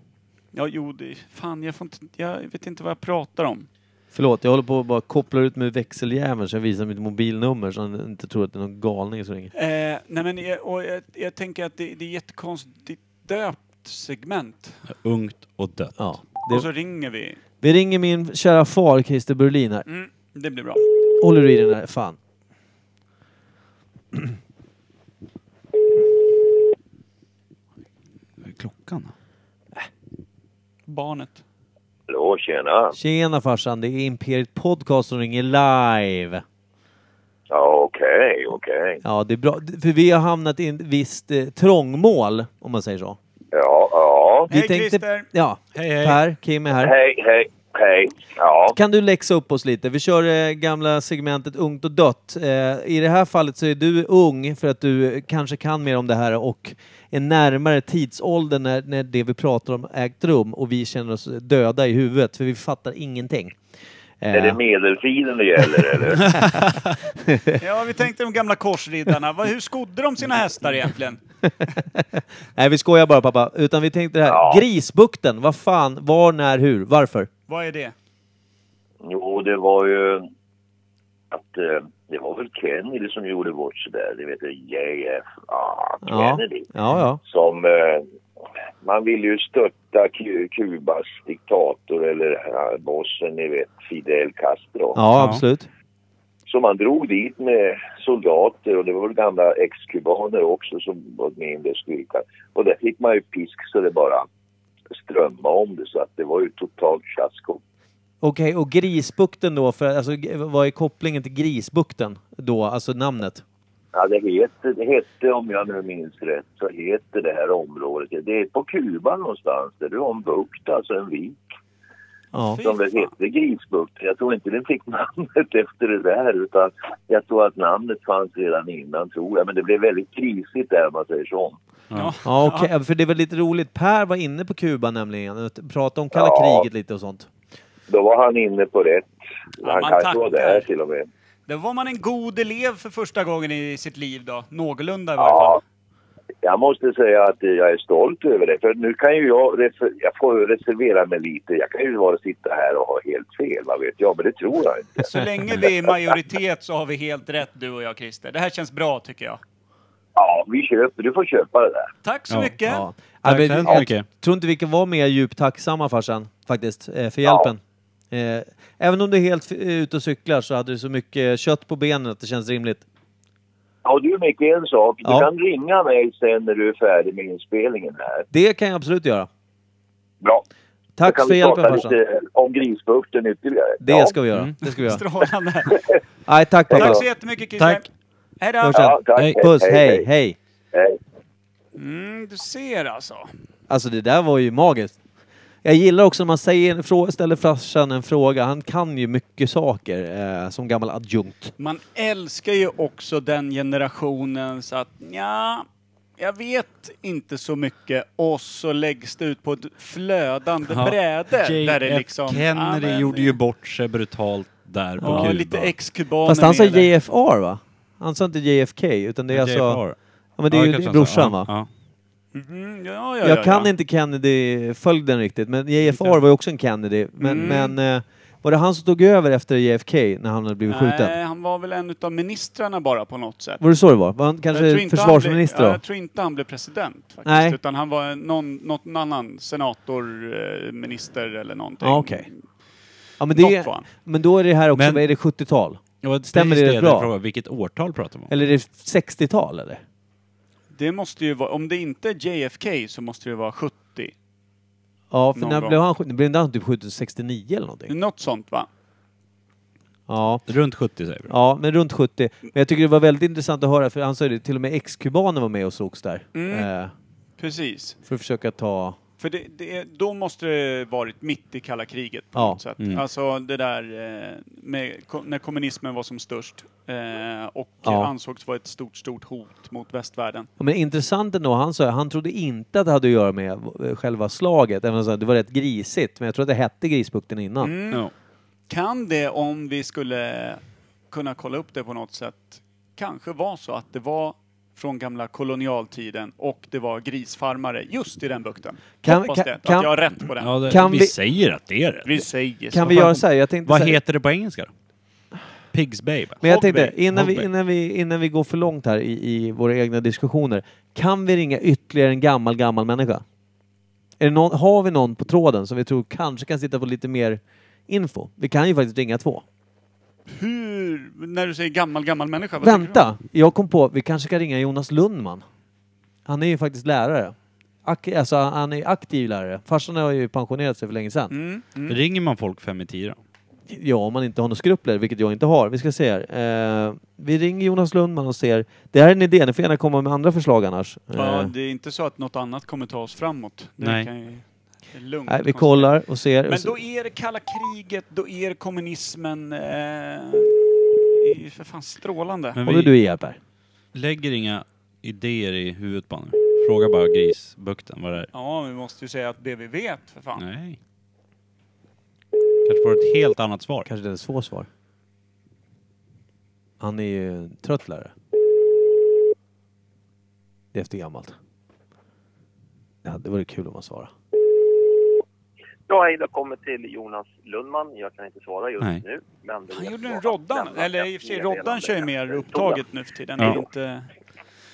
Speaker 3: Ja, jo, det, fan jag, får inte, jag vet inte vad jag pratar om.
Speaker 2: Förlåt, jag håller på att bara koppla ut med växeljäveln så jag visar mitt mobilnummer så han inte tror att det är någon galning som ringer.
Speaker 3: Eh, nej men jag, och jag, jag tänker att det, det är jättekonstigt döpt segment.
Speaker 1: Ungt och dött.
Speaker 2: Ja.
Speaker 3: Och
Speaker 2: Det,
Speaker 3: så ringer vi.
Speaker 2: vi ringer min kära far Christer Berlin här.
Speaker 3: Mm, det blir bra.
Speaker 2: Håller du i den här? Fan.
Speaker 1: Vad är klockan? då?
Speaker 3: Barnet.
Speaker 9: Hallå, tjena.
Speaker 2: Tjena farsan, det är Imperiet Podcast som ringer live.
Speaker 9: Ja, okej, okej.
Speaker 2: Ja, det är bra. För vi har hamnat i ett visst eh, trångmål, om man säger så.
Speaker 9: Ja, ja.
Speaker 2: Vi
Speaker 3: Hej, Christer.
Speaker 2: Ja,
Speaker 1: Hej, hej.
Speaker 2: Per, Kim är här.
Speaker 9: Hej, hej, hej. Ja,
Speaker 2: Kan du läxa upp oss lite? Vi kör eh, gamla segmentet Ungt och dött. Eh, I det här fallet så är du ung för att du kanske kan mer om det här och är närmare tidsåldern när, när det vi pratar om ägt rum och vi känner oss döda i huvudet för vi fattar ingenting. Eh,
Speaker 9: är det medeltiden det gäller eller?
Speaker 3: Ja, vi tänkte de gamla korsriddarna. Vad- Hur skodde de sina hästar egentligen?
Speaker 2: nej, vi skojar bara pappa. Utan vi tänkte det här.
Speaker 9: Ja.
Speaker 2: Grisbukten, vad fan, var, när, hur, varför?
Speaker 3: Vad är det?
Speaker 9: Jo, det var ju att eh, det var väl Kennedy som gjorde bort sig där. Det vet du, JF, ah,
Speaker 2: Ja,
Speaker 9: Kennedy.
Speaker 2: ja. ja.
Speaker 9: Som, eh, man ville ju stötta Ku- Kubas diktator eller eh, bossen, ni vet, Fidel Castro.
Speaker 2: Ja,
Speaker 1: Ja.
Speaker 2: absolut.
Speaker 9: Så man drog dit med soldater och det var väl gamla ex-kubaner också som var med i den styrkan. Och där fick man ju pisk så det bara strömmade om det så att det var ju totalt fiasko.
Speaker 2: Okej, och Grisbukten då, för, alltså, g- vad är kopplingen till Grisbukten då, alltså namnet?
Speaker 9: Ja, det, heter, det hette, om jag nu minns rätt, så heter det här området, det är på Kuba någonstans, där det var en bukt, alltså en vik,
Speaker 2: Ja.
Speaker 9: som väl hette Grisbukten. Jag tror inte den fick namnet efter det där, utan jag tror att namnet fanns redan innan, tror jag. Men det blev väldigt krisigt där, om man säger så.
Speaker 1: Ja.
Speaker 2: Ja, okej. Ja, För det var lite roligt. Per var inne på Kuba nämligen. Prata om kalla
Speaker 9: Ja.
Speaker 2: kriget lite och sånt.
Speaker 9: Då var han inne på rätt.
Speaker 3: Ja,
Speaker 9: han
Speaker 3: man
Speaker 9: kanske var
Speaker 3: tackar.
Speaker 9: där till och med.
Speaker 3: Där var man en god elev för första gången i sitt liv då. Någorlunda i varje
Speaker 9: Ja.
Speaker 3: fall.
Speaker 9: Jag måste säga att jag är stolt över det. För nu kan ju jag, reser- jag får ju reservera mig lite. Jag kan ju bara sitta här och ha helt fel, vad vet jag. Men det tror jag inte.
Speaker 3: Så länge vi är i majoritet så har vi helt rätt du och jag Christer. Det här känns bra tycker jag.
Speaker 9: Ja, vi köper. Du får köpa det där.
Speaker 3: Tack så
Speaker 1: Ja.
Speaker 3: mycket!
Speaker 2: Ja.
Speaker 1: Tack
Speaker 2: Ja, men
Speaker 1: så hemskt
Speaker 2: jag
Speaker 1: mycket.
Speaker 2: tror inte vi kan vara mer djupt tacksamma farsan, faktiskt, eh, för hjälpen. Eh, Även om du är helt eh, ute och cyklar så hade du så mycket kött på benen att det känns rimligt.
Speaker 9: Ja, och du Micke, en sak. Du
Speaker 2: Ja.
Speaker 9: kan ringa mig sen när du är färdig med inspelningen här.
Speaker 2: Det kan jag absolut göra.
Speaker 9: Bra. Då
Speaker 2: Tack
Speaker 9: kan
Speaker 2: för
Speaker 9: vi
Speaker 2: hjälpen
Speaker 9: prata
Speaker 2: farsan.
Speaker 9: lite om grisbukten ytterligare.
Speaker 2: Det
Speaker 9: ja.
Speaker 2: ska vi göra. Det ska vi göra.
Speaker 3: Strålande!
Speaker 2: Nej, tack pappa.
Speaker 3: Tack så jättemycket Christer!
Speaker 1: Tack.
Speaker 3: Hej då!
Speaker 2: Hörs sen.
Speaker 9: Ja, tack.
Speaker 1: Hej.
Speaker 2: Puss, hej, hej.
Speaker 9: hej.
Speaker 3: Mm, du ser alltså.
Speaker 2: Alltså det där var ju magiskt. Jag gillar också när man säger en frå- ställer farsan en fråga. Han kan ju mycket saker eh, som gammal adjunkt.
Speaker 3: Man älskar ju också den generationen så att ja, jag vet inte så mycket och så läggs det ut på ett flödande
Speaker 1: Ja.
Speaker 3: bräde. Där det
Speaker 1: JF
Speaker 3: liksom, ja,
Speaker 1: Kennedy
Speaker 3: men-
Speaker 1: gjorde ju bort sig brutalt där på
Speaker 3: Ja,
Speaker 1: Kuba.
Speaker 3: lite ex-kubaner
Speaker 2: Fast han sa
Speaker 3: med där.
Speaker 2: JFR va? Han sa inte JFK utan det är alltså...
Speaker 1: JFR.
Speaker 2: Ja men det
Speaker 1: Ja,
Speaker 2: är ju
Speaker 1: kanske
Speaker 2: det är
Speaker 1: han sa.
Speaker 2: brorsan
Speaker 1: Ja,
Speaker 2: va?
Speaker 1: ja.
Speaker 3: Mm, ja, ja, ja,
Speaker 2: Jag kan
Speaker 3: ja.
Speaker 2: inte Kennedy-följden riktigt men JFR var ju också en Kennedy. Men, men eh, var det han som tog över efter JFK när han hade blivit skjuten?
Speaker 3: Nej, han var väl en av ministrarna bara på något sätt.
Speaker 2: Var det så det var? Var han
Speaker 3: Jag tror
Speaker 2: kanske
Speaker 3: inte han blev-
Speaker 2: försvarsminister
Speaker 3: ja,
Speaker 2: då?
Speaker 3: Jag tror inte han blev president faktiskt.
Speaker 2: Nej.
Speaker 3: Utan han var någon, någon annan senator, eh, minister eller någonting.
Speaker 2: Ja, Ah, okej. Ja, men,
Speaker 3: Något
Speaker 2: det,
Speaker 3: var han.
Speaker 2: men då är det här också,
Speaker 1: Men-
Speaker 2: vad är det 70-tal?
Speaker 1: Det var
Speaker 2: Stämmer
Speaker 1: precis
Speaker 2: det bra?
Speaker 1: jag frågade. Vilket årtal pratar vi om?
Speaker 2: Eller är det 60-tal eller?
Speaker 3: Det måste ju vara, om det inte är JFK så måste det vara 70.
Speaker 2: Ja, för
Speaker 3: Någon
Speaker 2: när
Speaker 3: gång. Mm.
Speaker 2: blev han skjuten? Blev inte han typ skjuten 69 eller någonting?
Speaker 3: Något sånt va?
Speaker 2: Ja.
Speaker 1: Runt 70 säger vi. då.
Speaker 2: Ja, men runt 70. Men jag tycker det var väldigt intressant att höra, för han sa ju det, till och med ex-kubaner var med och slogs där.
Speaker 3: Mm.
Speaker 2: Eh,
Speaker 3: Precis.
Speaker 2: för att försöka ta...
Speaker 3: För det, det, är- då måste det varit mitt i kalla kriget på
Speaker 2: Ja. Mm.
Speaker 3: något sätt. Alltså det där eh, med, ko- när kommunismen var som störst eh, och
Speaker 2: Ja.
Speaker 3: ansågs vara ett stort, stort hot mot västvärlden.
Speaker 2: Ja, men intressant ändå, han sa han trodde inte att det hade att göra med eh, själva slaget, även om han sa att det var rätt grisigt, men jag tror att det hette Grisbukten innan.
Speaker 3: Mm.
Speaker 1: Ja.
Speaker 3: Kan det, om vi skulle kunna kolla upp det på något sätt, kanske vara så att det var från gamla kolonialtiden och det var grisfarmare just i den bukten.
Speaker 2: Kan-
Speaker 3: Hoppas
Speaker 2: kan-
Speaker 3: det, att
Speaker 2: kan-
Speaker 3: jag har rätt på den.
Speaker 1: Ja, det,
Speaker 2: Kan
Speaker 1: vi,
Speaker 2: vi-
Speaker 1: säger att det är rätt.
Speaker 3: Vi säger så.
Speaker 2: Kan vi göra så här? Jag tänkte
Speaker 1: Vad
Speaker 2: så här.
Speaker 1: heter det på engelska då? Pigs Bay va?
Speaker 2: Men jag
Speaker 3: Hogback.
Speaker 2: tänkte, innan vi,
Speaker 1: Hogback.
Speaker 2: innan, vi, innan vi går för långt här i, i våra egna diskussioner, kan vi ringa ytterligare en gammal, gammal människa? Är det någon, har vi någon på tråden som vi tror kanske kan sitta på lite mer info? Vi kan ju faktiskt ringa två.
Speaker 3: Hur, när du säger gammal, gammal människa, vad tycker
Speaker 2: Vänta! Jag kom på, vi kanske ska ringa Jonas Lundman. Han är ju faktiskt lärare. Ak- alltså, han är ju aktiv lärare. Farsan har ju pensionerat sig för länge sedan.
Speaker 3: du? Mm, mm.
Speaker 1: Ringer man folk fem i tio då?
Speaker 2: Ja, om man inte har några skrupler, vilket jag inte har. Vi ska se här. Eh, vi ringer Jonas Lundman och ser. Det här är en idé, ni får gärna komma med andra förslag annars.
Speaker 3: Ja,
Speaker 2: Eh,
Speaker 3: det är inte så att något annat kommer ta oss framåt. Det
Speaker 1: Nej.
Speaker 3: Kan ju, det är lugnt.
Speaker 2: nej, vi kollar och ser.
Speaker 3: Men då är det kalla kriget, då är det kommunismen... Eh, är ju för fan strålande.
Speaker 1: Men
Speaker 2: Håller
Speaker 1: vi
Speaker 2: du i här Per?
Speaker 1: lägger inga idéer i huvudet på honom. Fråga bara grisbukten vad det är.
Speaker 3: Ja, vi måste ju säga att det vi vet, för fan.
Speaker 1: Nej. Kanske får ett helt annat svar.
Speaker 2: Kanske det är ett svårt svar. Han är ju en trött lärare. Det är efter gammalt. Ja, det vore kul om han svarade.
Speaker 10: Ja, hej, välkommen till Jonas Lundman. Jag kan inte svara just
Speaker 1: Nej.
Speaker 10: nu. Men det
Speaker 3: Han
Speaker 10: vet
Speaker 3: gjorde
Speaker 10: jag.
Speaker 3: en Roddan,
Speaker 10: Lämna
Speaker 3: eller
Speaker 10: ett
Speaker 3: i och för sig
Speaker 10: meddelande
Speaker 3: Roddan kör ju mer
Speaker 10: efter
Speaker 3: upptaget nu för tiden.
Speaker 1: Ja.
Speaker 3: Det är inte...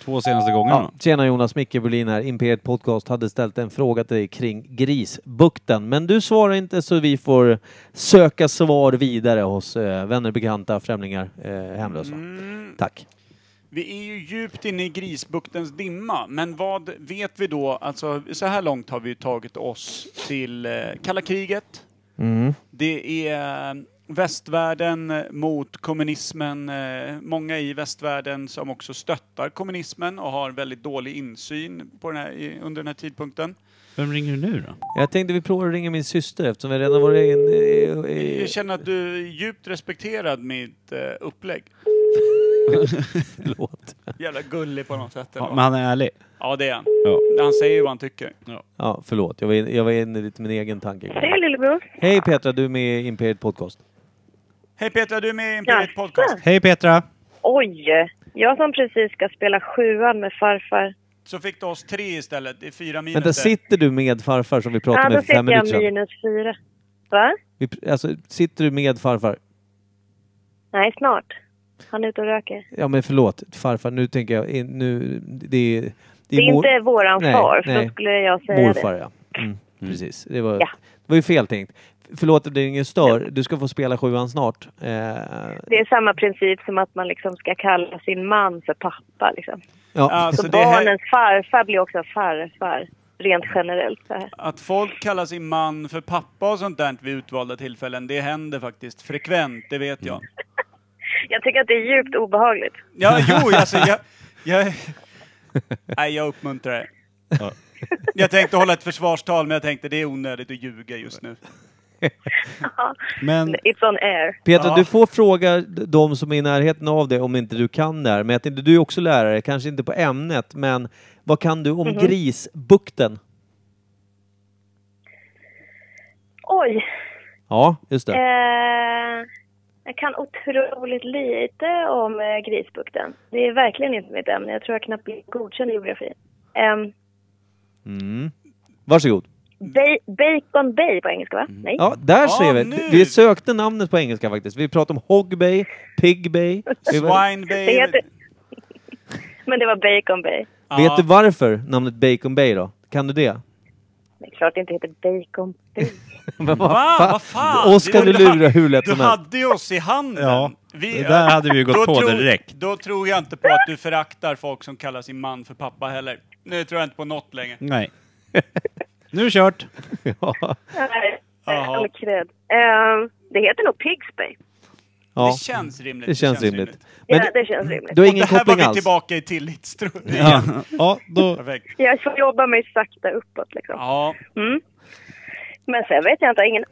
Speaker 1: Två senaste gångerna.
Speaker 2: Ja, tjena Jonas, Micke Berlin här. Imperiet Podcast hade ställt en fråga till dig kring grisbukten. Men du svarar inte så vi får söka svar vidare hos eh, vänner, bekanta, främlingar, eh, hemlösa.
Speaker 3: Mm,
Speaker 2: Tack.
Speaker 3: vi är ju djupt inne i grisbuktens dimma, men vad vet vi då? Alltså, så här långt har vi ju tagit oss till eh, kalla kriget. Det är eh, västvärlden mot kommunismen. eh, Många i västvärlden som också stöttar kommunismen och har väldigt dålig insyn på den här, i- under den här tidpunkten.
Speaker 1: Vem ringer du nu då?
Speaker 2: Jag tänkte vi provar att ringa min syster eftersom vi redan varit in, i- i-
Speaker 3: Jag känner att du är djupt respekterad mitt eh, upplägg.
Speaker 2: Förlåt.
Speaker 3: Jävla gullig på något sätt. eller
Speaker 1: Ja,
Speaker 3: vad?
Speaker 1: men han är ärlig.
Speaker 3: Ja, det är han.
Speaker 1: Ja.
Speaker 3: Han säger ju vad han tycker.
Speaker 2: Ja, förlåt. Jag var inne jag var in i lite min egen tanke.
Speaker 11: Hej lillebror.
Speaker 2: Hej Petra, du är med i Imperiet Podcast.
Speaker 3: Hej Petra, du är med i Imperiet
Speaker 11: Ja.
Speaker 3: Podcast.
Speaker 1: Hej Petra!
Speaker 11: Oj! Jag som precis ska spela sjuan med farfar.
Speaker 3: Så fick du oss tre istället. Det är fyra minus.
Speaker 2: Vänta,
Speaker 3: där.
Speaker 2: sitter du med farfar som vi pratade
Speaker 11: Ja, då
Speaker 2: med för
Speaker 11: fick
Speaker 2: fem minuter
Speaker 11: jag
Speaker 2: sedan?
Speaker 11: minus fyra. Va?
Speaker 2: Vi, pr- alltså, sitter du med farfar?
Speaker 11: Nej, snart. Han är ute och röker.
Speaker 2: Ja men förlåt farfar, nu tänker jag, in- nu, det är...
Speaker 11: Det är
Speaker 2: mor-
Speaker 11: inte våran
Speaker 2: Nej,
Speaker 11: far, för
Speaker 2: nej.
Speaker 11: då skulle jag säga
Speaker 2: morfar ja. Mm, Precis, det var,
Speaker 11: Ja.
Speaker 2: det var ju fel tänkt. Förlåt att det ingen stör, du ska få spela sjuan snart. Eh,
Speaker 11: det. Det är samma princip som att man liksom ska kalla sin man för pappa. Liksom.
Speaker 2: ja.
Speaker 3: Alltså,
Speaker 11: Så
Speaker 3: det här-
Speaker 11: barnens farfar blir också farfar, rent generellt. Så här.
Speaker 3: Att folk kallar sin man för pappa och sånt där vid utvalda tillfällen, det händer faktiskt frekvent, det vet
Speaker 2: Mm.
Speaker 3: jag.
Speaker 11: Jag tycker att det är djupt obehagligt.
Speaker 3: Ja, jo, alltså jag... jag nej, jag uppmuntrar det. Jag tänkte hålla ett försvarstal, men jag tänkte det är onödigt att ljuga just nu.
Speaker 1: Men
Speaker 11: It's on air.
Speaker 2: Petra,
Speaker 3: Ja.
Speaker 2: du får fråga d- de som är i närheten av dig om inte du kan det här. Men jag tänkte, du är också lärare, kanske inte på ämnet, men vad kan du om
Speaker 11: Mhm.
Speaker 2: grisbukten?
Speaker 11: Oj!
Speaker 2: Ja, just det.
Speaker 11: Eh, jag kan otroligt lite om eh, Grisbukten. Det är verkligen inte mitt ämne. Jag tror jag knappt blir godkänd i geografi. Um,
Speaker 2: Mm. Varsågod.
Speaker 11: Bacon Bay på engelska, va? Nej.
Speaker 2: Mm. Ja, där
Speaker 3: Ja,
Speaker 2: ser vi.
Speaker 3: nu.
Speaker 2: Vi sökte namnet på engelska faktiskt. Vi pratade om Hog Bay, Pig Bay. Vi var-
Speaker 3: Swine
Speaker 11: Det heter...
Speaker 3: Bay...
Speaker 11: Men det var Bacon Bay.
Speaker 3: Ja,
Speaker 2: Vet du varför namnet Bacon Bay då? Kan du det?
Speaker 11: Det är klart det inte heter Bacon Bay.
Speaker 2: Va?
Speaker 3: Va? Vad fan?
Speaker 2: Oskar, du
Speaker 3: Det var-
Speaker 2: lurar hur lätt
Speaker 3: Du
Speaker 2: som helst.
Speaker 3: hade ju oss i handen.
Speaker 1: Ja,
Speaker 3: Vi-
Speaker 1: det där hade vi ju gått
Speaker 3: då
Speaker 1: på
Speaker 3: tror-
Speaker 1: direkt.
Speaker 3: Då tror jag inte på att du föraktar folk som kallar sin man för pappa heller. Nu tror jag inte på något längre.
Speaker 1: nej. Nu är det kört!
Speaker 2: Ja.
Speaker 11: Nej,
Speaker 3: Jaha.
Speaker 11: All cred. Ehm, det heter nog Pigs Bay.
Speaker 2: Ja,
Speaker 3: Det känns rimligt.
Speaker 2: det känns rimligt. Men
Speaker 11: Ja, det känns rimligt.
Speaker 2: du har
Speaker 3: Och
Speaker 2: ingen
Speaker 3: det här var
Speaker 2: koppling
Speaker 3: vi
Speaker 2: alls?
Speaker 3: tillbaka i tillitstro.
Speaker 1: Ja, ja då...
Speaker 3: Perfekt.
Speaker 11: Jag får jobba mig sakta uppåt liksom.
Speaker 3: Ja,
Speaker 11: Mm. Men sen vet jag inte, jag har ingen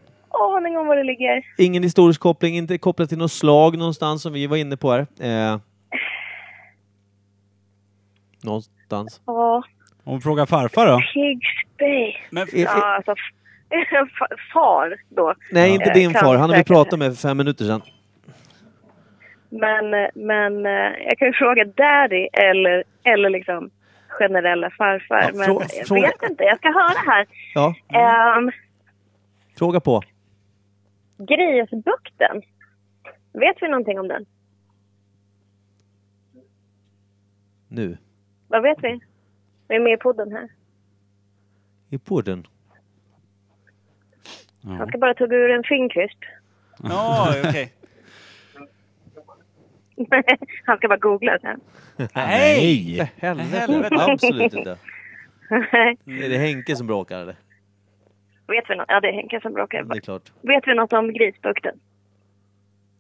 Speaker 11: aning om var det ligger.
Speaker 2: Ingen historisk koppling, inte kopplat till något slag någonstans som vi var inne på här. Eh. Någonstans.
Speaker 11: Ja,
Speaker 1: Om frågar farfar då?
Speaker 11: Pigs Bay.
Speaker 3: men
Speaker 2: I-
Speaker 11: Ja, alltså fa- far då.
Speaker 2: Nej, inte
Speaker 11: Eh,
Speaker 2: din
Speaker 11: kan
Speaker 2: far. Han har vi
Speaker 11: säkert-
Speaker 2: pratat med för fem minuter sedan.
Speaker 11: Men, eh, men eh, jag kan ju fråga daddy eller, eller liksom generella farfar.
Speaker 8: Ja,
Speaker 11: men
Speaker 8: frå-
Speaker 11: jag
Speaker 8: fråga-
Speaker 11: vet inte, jag ska höra här.
Speaker 2: Mm.
Speaker 8: Ja,
Speaker 11: Ehm,
Speaker 8: fråga på.
Speaker 11: Grisbukten, vet vi någonting om den?
Speaker 2: Nu.
Speaker 11: Vad vet vi? Vi är med i podden här.
Speaker 2: I podden.
Speaker 11: Jag ska bara tugga ur en Finkvist.
Speaker 3: Ja, okej.
Speaker 11: Han ska bara googla sen.
Speaker 1: Nej!
Speaker 2: Helvete. Absolut inte. Är det Henke som bråkar eller?
Speaker 11: vet vi något? Ja, det är Henke som bråkar.
Speaker 2: Det är klart.
Speaker 11: Vet vi något om Grisbukten?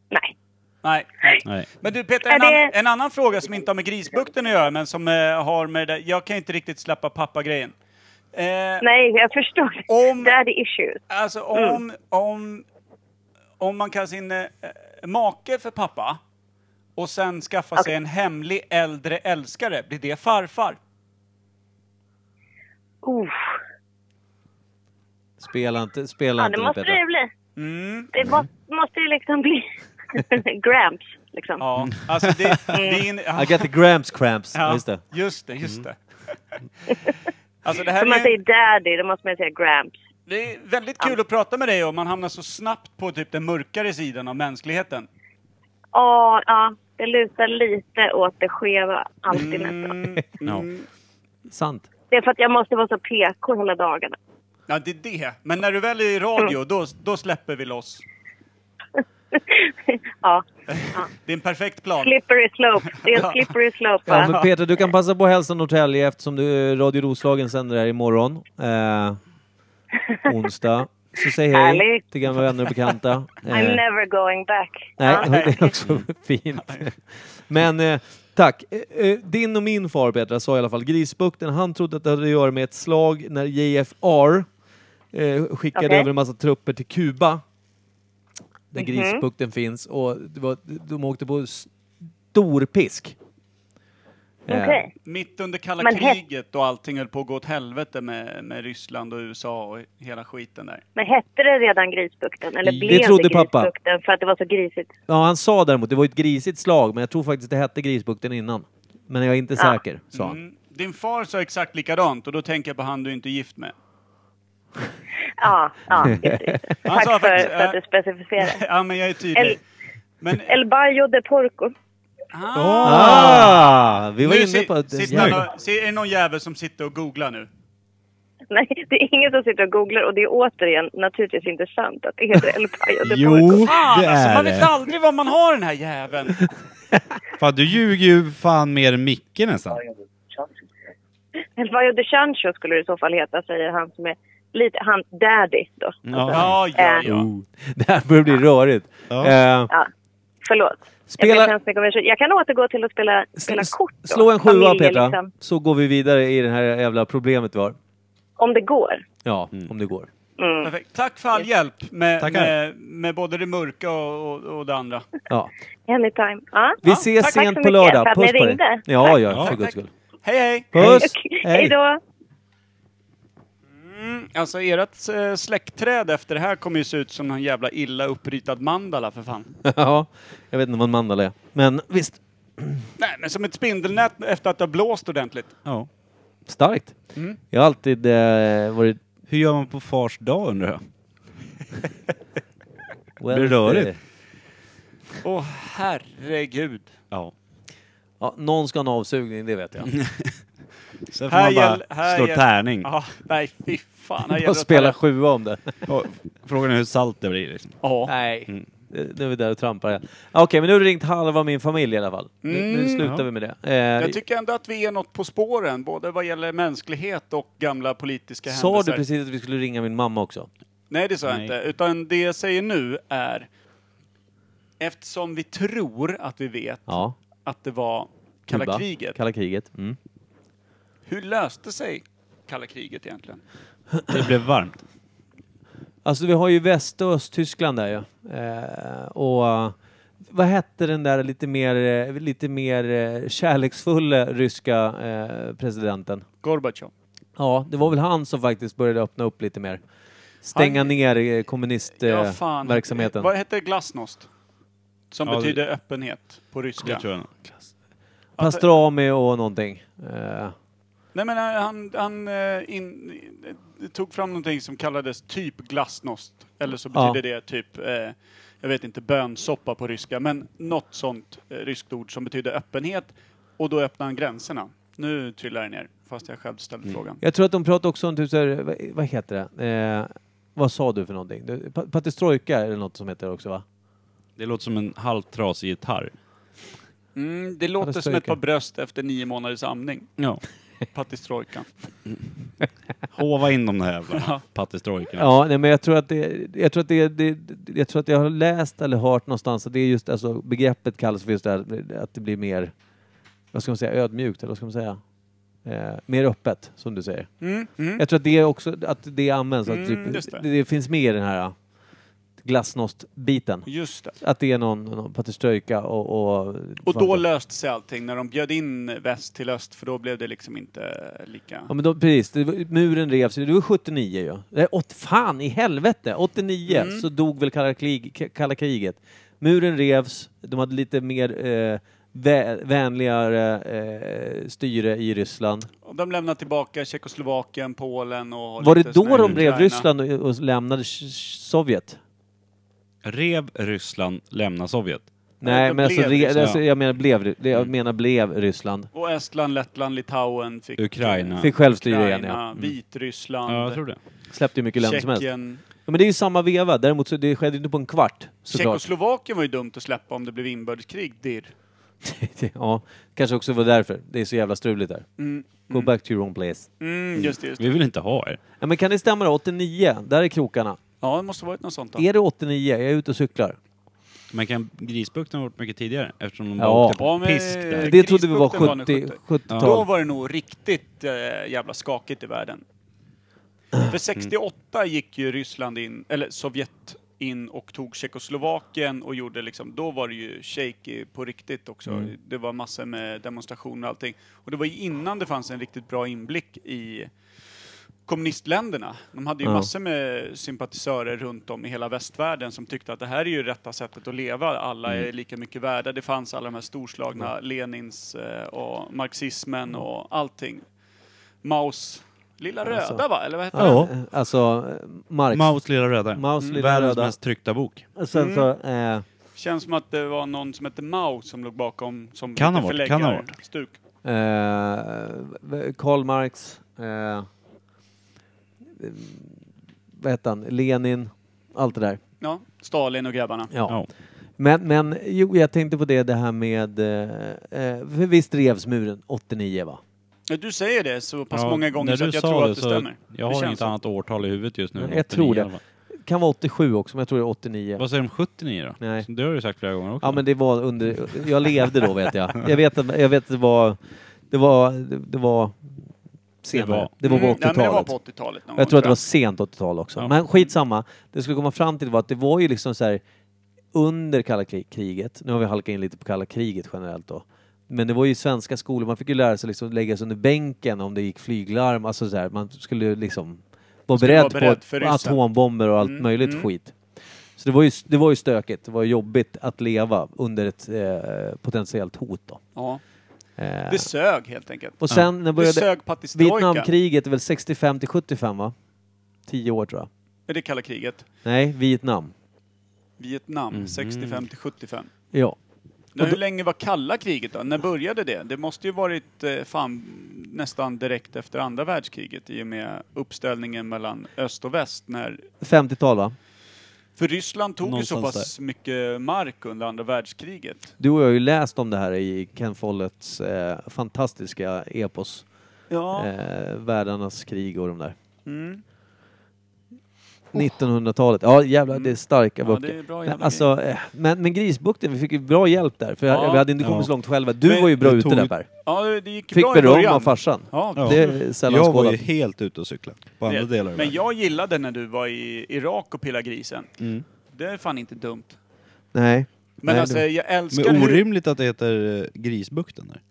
Speaker 11: Nej.
Speaker 3: Nej. nej.
Speaker 1: Nej.
Speaker 3: Men du Peter,
Speaker 11: Är
Speaker 3: en,
Speaker 11: det-
Speaker 3: an- en annan fråga som inte har med Grisbukten att göra, men som eh, har med det där. Jag kan inte riktigt släppa pappa-grejen. Eh,
Speaker 11: Nej, jag förstår.
Speaker 3: Om-
Speaker 11: Daddy issues.
Speaker 3: Alltså om,
Speaker 11: Mm.
Speaker 3: om, om man kallar sin eh, make för pappa och sen skaffa
Speaker 11: Alltså-
Speaker 3: sig en hemlig äldre älskare, blir det farfar?
Speaker 11: Uff.
Speaker 2: Spela inte, spela
Speaker 11: Ja,
Speaker 2: inte
Speaker 11: det
Speaker 2: nu
Speaker 11: måste det
Speaker 2: Petra.
Speaker 11: ju bli.
Speaker 3: Mm,
Speaker 11: Det må, måste ju liksom bli Gramps, liksom.
Speaker 3: ja. Alltså det, det är en, ja,
Speaker 2: Mm. I got the gramps cramps. Ja.
Speaker 3: ja,
Speaker 2: Just det. Mm.
Speaker 3: just det, just det. Alltså det här
Speaker 11: Om man
Speaker 3: är, ju-
Speaker 11: säger daddy, då måste man säga Gramps.
Speaker 3: det är väldigt kul att prata med dig om man hamnar så snabbt på typ den mörkare sidan av mänskligheten.
Speaker 11: Ja, ja. Det lutar lite åt det skeva, alltid nästan.
Speaker 3: Mm,
Speaker 1: Ja.
Speaker 3: mm.
Speaker 2: Sant.
Speaker 11: Det är för att jag måste vara så PK hela dagarna.
Speaker 3: Ja, det är det. Men när du väl är i radio,
Speaker 11: Mm.
Speaker 3: då, då släpper vi loss.
Speaker 11: ja,
Speaker 3: Det är en perfekt plan.
Speaker 11: slippery slope. Det är en slippery slope,
Speaker 2: Ja,
Speaker 11: va?
Speaker 2: men Peter, du kan passa på att hälsa Norrtälje eftersom du, eh, Radio Roslagen sänder här imorgon. Eh, onsdag. Så säg hej
Speaker 11: Härligt.
Speaker 2: till gamla vänner och bekanta.
Speaker 11: I'm
Speaker 2: Eh,
Speaker 11: never going back.
Speaker 2: nej,
Speaker 3: Ah,
Speaker 11: Ja.
Speaker 2: det är också fint. Men eh, tack. Eh, eh, din och min far, Petra, sa i alla fall Grisbukten. Han trodde att det hade att göra med ett slag när JFR eh, skickade
Speaker 11: Okej.
Speaker 2: över en massa trupper till Kuba. Där
Speaker 3: Mhm.
Speaker 2: Grisbukten finns. Och det var, de åkte på storpisk. Eh,
Speaker 11: Okej.
Speaker 3: Mitt under kalla
Speaker 11: Men he-
Speaker 3: kriget och allting höll på att gå åt helvete med, med Ryssland och USA och hela skiten där.
Speaker 11: Men hette det redan Grisbukten? Eller
Speaker 2: Det
Speaker 11: blev det,
Speaker 2: trodde pappa.
Speaker 11: Grisbukten för att det var så grisigt?
Speaker 2: Ja, han sa däremot, det var ju ett grisigt slag, men jag tror faktiskt det hette Grisbukten innan. Men jag är inte
Speaker 11: Ja.
Speaker 2: säker, sa han.
Speaker 3: Mm. Din far sa exakt likadant och då tänker jag på han du inte är gift med.
Speaker 11: Ja, ja just det.
Speaker 3: Han
Speaker 11: Tack
Speaker 3: sa
Speaker 11: för,
Speaker 3: faktiskt,
Speaker 11: för att
Speaker 3: äh,
Speaker 11: du specificerade.
Speaker 3: ja, men jag är tydlig.
Speaker 11: El-
Speaker 3: Men,
Speaker 11: El Bayo de Porco.
Speaker 3: ah,
Speaker 2: Ah, vi var
Speaker 3: nu
Speaker 2: inne
Speaker 3: si-
Speaker 2: på att...
Speaker 3: sitter någon, ser, är det någon jävel som sitter och googlar nu?
Speaker 11: Nej, det är ingen som sitter och googlar och det är återigen naturligtvis inte sant att det heter El Bayo de Porco.
Speaker 1: Jo,
Speaker 3: Fan
Speaker 1: det
Speaker 3: alltså,
Speaker 1: är
Speaker 3: man vet
Speaker 1: det.
Speaker 3: aldrig var man har den här jäveln!
Speaker 1: Fan, du ljuger ju fan mer än Micke nästan.
Speaker 11: El Bayo de Chancho skulle det i så fall heta, säger han som är lite, han daddy då.
Speaker 3: Ja, ja, ja.
Speaker 11: Äh.
Speaker 1: Oh.
Speaker 2: Mm. Det här börjar bli rörigt. Eh,
Speaker 11: Ja, förlåt.
Speaker 2: Spela-
Speaker 11: Jag, ber så hemskt mycket om ursäkt. jag kan återgå till att spela, spela
Speaker 2: s-
Speaker 11: kort då.
Speaker 2: slå en sjua,
Speaker 11: Familje,
Speaker 2: Petra,
Speaker 11: liksom.
Speaker 2: så går vi vidare i det här jävla problemet vi har.
Speaker 11: om det går.
Speaker 2: Ja, om det går.
Speaker 3: Perfekt. Tack för all hjälp med,
Speaker 1: Tackar.
Speaker 3: med, med både det mörka och, och, och det andra.
Speaker 2: Ja.
Speaker 11: Anytime. Ja.
Speaker 2: Vi ses
Speaker 11: tack så
Speaker 2: sent på
Speaker 11: mycket för
Speaker 2: lördag.
Speaker 11: att
Speaker 2: Puss
Speaker 11: ni
Speaker 2: på dig.
Speaker 11: ringde.
Speaker 2: Ja,
Speaker 11: Tack.
Speaker 2: ja,
Speaker 1: Tack,
Speaker 2: för guds
Speaker 1: tack.
Speaker 2: skull.
Speaker 3: Hej, hej!
Speaker 2: Puss!
Speaker 11: Hej då!
Speaker 3: Alltså ert eh, släktträd efter det här kommer ju se ut som någon jävla illa uppritad mandala för fan.
Speaker 2: ja, jag vet inte vad en mandel är. Men visst,
Speaker 3: Nej men som ett spindelnät efter att det har blåst ordentligt.
Speaker 1: Ja.
Speaker 2: starkt. Jag har alltid eh, varit...
Speaker 1: Hur gör man på fars dag undrar jag?
Speaker 2: Well,
Speaker 1: rörigt.
Speaker 2: eh,
Speaker 3: Åh herregud.
Speaker 2: Mm.
Speaker 1: Ja.
Speaker 2: Ja, någon ska ha en avsugning, det vet jag.
Speaker 1: Sen får man
Speaker 3: gäll-
Speaker 1: bara slå
Speaker 3: gäll-
Speaker 1: tärning.
Speaker 3: Ja, nej fy fan. Här gäller
Speaker 2: Jag
Speaker 3: att
Speaker 2: spelar
Speaker 3: ta-
Speaker 2: sjua om det.
Speaker 1: Och Frågan är hur salt det blir. Liksom.
Speaker 3: Ja.
Speaker 2: Nej. Mm. Nu är vi där och trampar igen. Okej, men nu har du ringt halva min familj i alla fall. nu, nu
Speaker 3: Mm.
Speaker 2: slutar
Speaker 1: Ja.
Speaker 2: vi med det.
Speaker 3: Jag
Speaker 2: Eh,
Speaker 3: tycker ändå att vi är något på spåren, både vad gäller mänsklighet och gamla politiska
Speaker 2: sa
Speaker 3: händelser.
Speaker 2: du precis att vi skulle ringa min mamma också?
Speaker 3: Nej, det sa jag
Speaker 1: Nej.
Speaker 3: inte. Utan det jag säger nu är, eftersom vi tror att vi vet
Speaker 2: Ja.
Speaker 3: att det var kalla
Speaker 2: Kuba.
Speaker 3: kriget,
Speaker 2: Kalla kriget. Mm.
Speaker 3: hur löste sig kalla kriget egentligen?
Speaker 1: Det blev varmt.
Speaker 2: Alltså vi har ju Väst och Östtyskland där ju. Eh, och eh, vad hette den där lite mer, eh, lite mer eh, kärleksfulla ryska eh, presidenten?
Speaker 3: Gorbatjov.
Speaker 2: Ja, det var väl han som faktiskt började öppna upp lite mer. Stänga
Speaker 3: Han-
Speaker 2: ner eh,
Speaker 3: Ja, fan.
Speaker 2: kommunistverksamheten.
Speaker 3: Vad heter det? glasnost? Som
Speaker 1: Ja, det-
Speaker 3: betyder öppenhet på ryska.
Speaker 1: Det tror jag. nog.
Speaker 2: Pastrami och någonting. Eh,
Speaker 3: Nej men eh, han, han eh, in, eh, tog fram någonting som kallades typ glasnost. Eller så
Speaker 2: Ja.
Speaker 3: betyder det typ, eh, jag vet inte, bönsoppa på ryska. Men något sånt eh, ryskt ord som betyder öppenhet. Och då öppnar han gränserna. Nu trillar det ner, fast jag själv ställde frågan.
Speaker 2: jag tror att de pratar också om typ så här, vad, vad heter det? Eh, vad sa du för någonting? Du, pa- Patistrojka är det något som heter också va?
Speaker 1: Det låter som en halvt trasig gitarr.
Speaker 3: Mm, det låter som ett
Speaker 2: Perestrojka.
Speaker 3: par bröst efter nio månaders amning.
Speaker 1: Ja.
Speaker 3: Patistrojkan.
Speaker 1: Hova in de där jävla pattestrojkorna.
Speaker 2: Ja, nej, men jag tror att det, jag tror att det, det, det- jag tror att jag har läst eller hört någonstans att det är just, alltså begreppet kallas för just det här, att det blir mer, vad ska man säga, ödmjukt eller vad ska man säga? Eh, mer öppet, som du säger.
Speaker 3: Mm, mm.
Speaker 2: Jag tror att det är också, att det används, att
Speaker 3: Mm,
Speaker 2: typ,
Speaker 3: just
Speaker 2: det.
Speaker 3: det.
Speaker 2: finns med i den här ah, glassnost-biten.
Speaker 3: Just det.
Speaker 2: Att det är någon, någon paterstrojka och... Och,
Speaker 3: Och då löste sig allting när de bjöd in väst till öst för då blev det liksom inte lika...
Speaker 2: Ja men då, precis, det, var- muren revs ju. Det var 79 ju. Nej, åt, fan i helvete! 89
Speaker 3: Mm.
Speaker 2: så dog väl kalla, krig, k- kalla kriget. Muren revs, de hade lite mer eh, vä, vänligare eh, styre i Ryssland.
Speaker 3: Och De lämnar tillbaka Tjeckoslovakien, Polen och... har
Speaker 2: Var det
Speaker 3: lite sån
Speaker 2: då
Speaker 3: här
Speaker 2: de rev
Speaker 3: Ukraina.
Speaker 2: Ryssland och, och lämnade Sh- Sovjet?
Speaker 1: Rev Ryssland, lämna Sovjet.
Speaker 2: Nej,
Speaker 3: de
Speaker 2: men alltså,
Speaker 3: blev
Speaker 2: re,
Speaker 3: Ryssland. Mm.
Speaker 2: alltså jag menar blev, Ry- det jag menar blev Ryssland.
Speaker 3: Och Estland, Lettland, Litauen fick... eh,
Speaker 1: Ukraina.
Speaker 2: Fick självstyre igen ja.
Speaker 3: Ukraina, Vitryssland,
Speaker 2: Mm.
Speaker 1: Ja, jag tror det.
Speaker 2: Släppte ju mycket länder som helst.
Speaker 3: Tjeckien.
Speaker 2: Ja, men det är ju samma veva, däremot så det skedde ju inte på en kvart såklart.
Speaker 3: Tjeckoslovakien var ju dumt att släppa om det blev inbördeskrig, dirr.
Speaker 2: ja, kanske också var därför. Det är så jävla struligt där.
Speaker 3: Mm,
Speaker 2: Go back to your own place.
Speaker 3: mm, just det, just det.
Speaker 1: Vi vill inte ha er.
Speaker 2: Ja, men kan det stämma då? 89, där är krokarna.
Speaker 3: Ja, det måste varit något sånt då.
Speaker 2: Är det 89? Jag är ute och cyklar.
Speaker 1: Men kan Grisbukten ha varit mycket tidigare? Eftersom de
Speaker 2: Ja.
Speaker 1: bara åkte på eh,
Speaker 3: Ja, men-
Speaker 1: pisk där.
Speaker 2: Det trodde vi var
Speaker 3: Krisbukten var nu
Speaker 2: 70,
Speaker 3: 70.
Speaker 2: 70-tal.
Speaker 3: Då var det nog riktigt eh, jävla skakigt i världen.
Speaker 2: Mm.
Speaker 3: För 68 gick ju Ryssland in, eller Sovjet in och tog Tjeckoslovakien och gjorde liksom, då var det ju shaky på riktigt också.
Speaker 2: Mm.
Speaker 3: Det var massor med demonstrationer och allting. Och det var ju innan det fanns en riktigt bra inblick i kommunistländerna. De hade ju
Speaker 2: Ja.
Speaker 3: massor med sympatisörer runt om i hela västvärlden som tyckte att det här är ju rätta sättet att leva. Alla
Speaker 1: Mm.
Speaker 3: är lika mycket värda. Det fanns alla de här storslagna Lenins eh, och marxismen och allting. Maus Lilla
Speaker 2: Alltså.
Speaker 3: röda va? Eller vad heter
Speaker 2: Ja,
Speaker 3: den?
Speaker 2: alltså Marx.
Speaker 1: Maus lilla röda.
Speaker 2: Maus lilla
Speaker 1: Världens
Speaker 2: röda.
Speaker 1: mest tryckta bok.
Speaker 2: Och
Speaker 3: Mm.
Speaker 2: sen så... Eh,
Speaker 3: Känns som att det var någon som hette Mao som låg bakom som
Speaker 1: Kan ha
Speaker 3: lite
Speaker 1: varit, kan ha
Speaker 3: förläggare. Stuk.
Speaker 2: eh, Karl Marx. Eh, vad hette han? Lenin. Allt det där.
Speaker 3: Ja, Stalin och grabbarna.
Speaker 2: Ja.
Speaker 1: Ja.
Speaker 2: Men, men jo, jag tänkte på det, det här med... Eh, eh, för visst revs muren 89 va?
Speaker 3: Ja, Du säger det så pass
Speaker 1: Ja,
Speaker 3: många gånger
Speaker 1: när
Speaker 3: så
Speaker 1: du
Speaker 3: att jag
Speaker 1: sa
Speaker 3: tror att det
Speaker 1: så-
Speaker 3: stämmer.
Speaker 1: Jag
Speaker 3: Det
Speaker 1: har
Speaker 3: känns
Speaker 1: inget
Speaker 3: så.
Speaker 1: annat åtal i huvudet just nu.
Speaker 2: Jag
Speaker 1: än 89
Speaker 2: tror det.
Speaker 1: i alla fall.
Speaker 2: Kan vara 87 också, men jag tror det är 89.
Speaker 1: Vad säger de 79 då?
Speaker 2: Nej.
Speaker 1: Det har du ju sagt flera gånger också.
Speaker 2: Ja men det var under, jag levde då vet jag. Jag vet att, jag vet att det var, det var, det var senare.
Speaker 1: var.
Speaker 2: Det var på
Speaker 3: Mm, nej, men det var
Speaker 2: 80-talet.
Speaker 3: på 80-talet någon
Speaker 2: Jag
Speaker 3: gång,
Speaker 2: tror att det var
Speaker 3: jag.
Speaker 2: sent 80-tal också.
Speaker 1: Ja.
Speaker 2: Men skitsamma. Det skulle komma fram till var att det var ju liksom så här under kalla krig- kriget, nu har vi halkat in lite på kalla kriget generellt då, men det var ju svenska skolor, man fick ju lära sig liksom lägga sig under bänken om det gick flyglarm, alltså så här, man skulle liksom vara
Speaker 3: skulle
Speaker 2: beredd,
Speaker 3: vara beredd
Speaker 2: på
Speaker 3: för ryssen.
Speaker 2: atombomber och allt
Speaker 3: Mm,
Speaker 2: möjligt
Speaker 3: mm.
Speaker 2: skit. Så det var, ju, det var ju stökigt, det var ju jobbigt att leva under ett eh, potentiellt hot då.
Speaker 3: Ja.
Speaker 2: Eh,
Speaker 3: Det sög helt enkelt.
Speaker 2: och sen när
Speaker 3: Det
Speaker 2: började
Speaker 3: sög patistrojka.
Speaker 2: Vietnamkriget, det är väl 65 till 75 va? 10 år tror jag.
Speaker 3: Är det kalla kriget?
Speaker 2: Nej, Vietnam.
Speaker 3: Vietnam,
Speaker 2: Mm.
Speaker 3: 65 till 75.
Speaker 2: Ja.
Speaker 3: Men hur länge var kalla kriget då? När började det? Det måste ju varit eh, fan, nästan direkt efter andra världskriget i och med uppställningen mellan öst och väst. När,
Speaker 2: 50-tal va?
Speaker 3: för Ryssland tog ju så
Speaker 1: Någonstans
Speaker 3: pass mycket mark under andra världskriget.
Speaker 2: Du och jag har ju läst om det här i Ken Folletts eh, fantastiska epos.
Speaker 3: Ja.
Speaker 2: Eh, Världarnas krig och de där.
Speaker 3: Mm.
Speaker 2: Oh. 1900-talet. Ja jävlar, det är starka
Speaker 3: Mm. Ja,
Speaker 2: böcker.
Speaker 3: det är bra
Speaker 2: men,
Speaker 3: jävla
Speaker 2: alltså, eh, men, men Grisbukten, vi fick ju bra hjälp där. För
Speaker 3: Ja.
Speaker 2: vi hade inte kommit
Speaker 1: Ja.
Speaker 2: så långt själva. Du
Speaker 3: Men
Speaker 2: var ju bra
Speaker 1: det
Speaker 2: ute
Speaker 1: tog-
Speaker 2: där Per.
Speaker 3: ja, det gick
Speaker 2: Fick
Speaker 3: bra i
Speaker 2: beröm
Speaker 3: början.
Speaker 2: av farsan.
Speaker 3: Ja,
Speaker 1: Ja.
Speaker 2: Det är sällan
Speaker 1: jag var
Speaker 2: skådat.
Speaker 1: ju helt ute och cykla på andra
Speaker 3: det-
Speaker 1: delar av
Speaker 3: Men
Speaker 1: världen.
Speaker 3: jag gillade när du var i Irak och pillade grisen. Det är fan inte dumt.
Speaker 2: Nej.
Speaker 3: Men
Speaker 2: Mm. Nej,
Speaker 3: alltså,
Speaker 2: det-
Speaker 3: jag älskar
Speaker 1: Men
Speaker 3: hur...
Speaker 1: orimligt att det heter eh, Grisbukten där.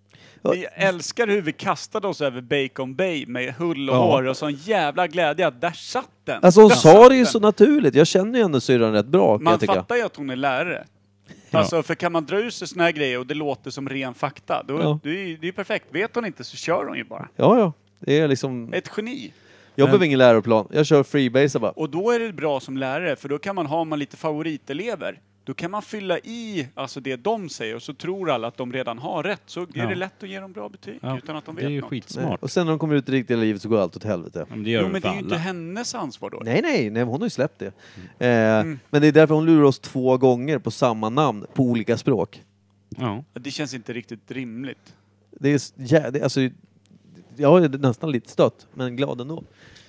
Speaker 3: Vi älskar hur vi kastade oss över Bacon Bay med hull och
Speaker 1: Ja.
Speaker 3: hår och sån jävla glädje att där satt den!
Speaker 2: Alltså hon
Speaker 3: Där
Speaker 2: sa
Speaker 3: satt
Speaker 2: det ju
Speaker 3: den.
Speaker 2: så naturligt. Jag känner ju ändå syrran rätt bra kan
Speaker 3: Man
Speaker 2: jag tycka.
Speaker 3: fattar ju att hon är lärare.
Speaker 1: Ja.
Speaker 3: Alltså, för kan man dra ur sig såna här grejer och det låter som ren fakta, då,
Speaker 8: Ja.
Speaker 3: det, är, ju- det är ju perfekt. Vet hon inte så kör hon ju bara.
Speaker 8: Ja, ja. Det är liksom...
Speaker 3: Ett geni.
Speaker 8: Jag behöver ingen läroplan. Jag kör freebase bara.
Speaker 3: Och då är det bra som lärare, för då kan man ha, om man lite favoritelever, då kan man fylla i alltså det de säger och så tror alla att de redan har rätt. Så är
Speaker 1: Ja.
Speaker 3: det lätt att ge dem bra betyg
Speaker 1: Ja,
Speaker 3: utan att de
Speaker 1: det
Speaker 3: vet
Speaker 1: är ju
Speaker 3: något.
Speaker 1: skitsmart.
Speaker 2: Och sen när de kommer ut i riktiga livet så går allt åt helvete.
Speaker 1: Ja, men det gör
Speaker 3: Jo,
Speaker 1: vi
Speaker 3: men
Speaker 1: för
Speaker 3: det är ju inte
Speaker 1: alla.
Speaker 3: hennes ansvar då.
Speaker 2: Nej, nej, nej, hon har ju släppt det. Eh, Men det är därför hon lurar oss två gånger på samma namn på olika språk.
Speaker 1: Ja.
Speaker 3: Det känns inte riktigt rimligt.
Speaker 2: Det är, s- jä- det- alltså, jag är nästan lite stött, men glad ändå.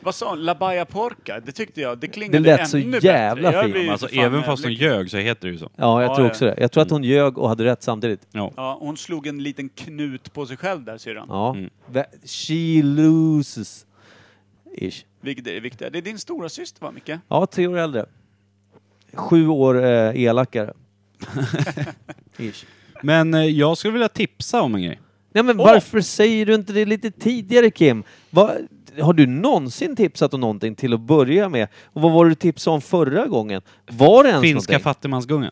Speaker 3: Vad sa hon? La Baya Porca? Det tyckte jag, det klingade
Speaker 2: Det lät
Speaker 3: ännu
Speaker 2: så
Speaker 3: bättre.
Speaker 2: jävla
Speaker 3: Jag
Speaker 2: fint.
Speaker 3: blir ju
Speaker 1: Alltså,
Speaker 3: för fan
Speaker 1: även fast hon
Speaker 3: jävlig.
Speaker 1: ljög så heter det ju så.
Speaker 2: Ja, jag
Speaker 3: Ja,
Speaker 2: tror
Speaker 3: ja.
Speaker 2: också det. Jag tror att hon ljög och hade rätt samtidigt.
Speaker 1: Ja.
Speaker 3: Ja, hon slog en liten knut på sig själv där syrran.
Speaker 2: Ja.
Speaker 1: Mm.
Speaker 2: Vä- She loses. Ish.
Speaker 3: Vilket är det viktiga. Det är din stora syster va Micke?
Speaker 2: Ja, tre år äldre. Sju år eh, elakare. Ish.
Speaker 1: Men eh, jag skulle vilja tipsa om en grej.
Speaker 2: Nej men
Speaker 3: Åh!
Speaker 2: varför säger du inte det lite tidigare Kim? Va, har du någonsin tipsat om någonting till att börja med? Och vad var det du tipsade om förra gången? Var det ens
Speaker 1: Finska
Speaker 2: någonting?
Speaker 1: fattigmansgungan.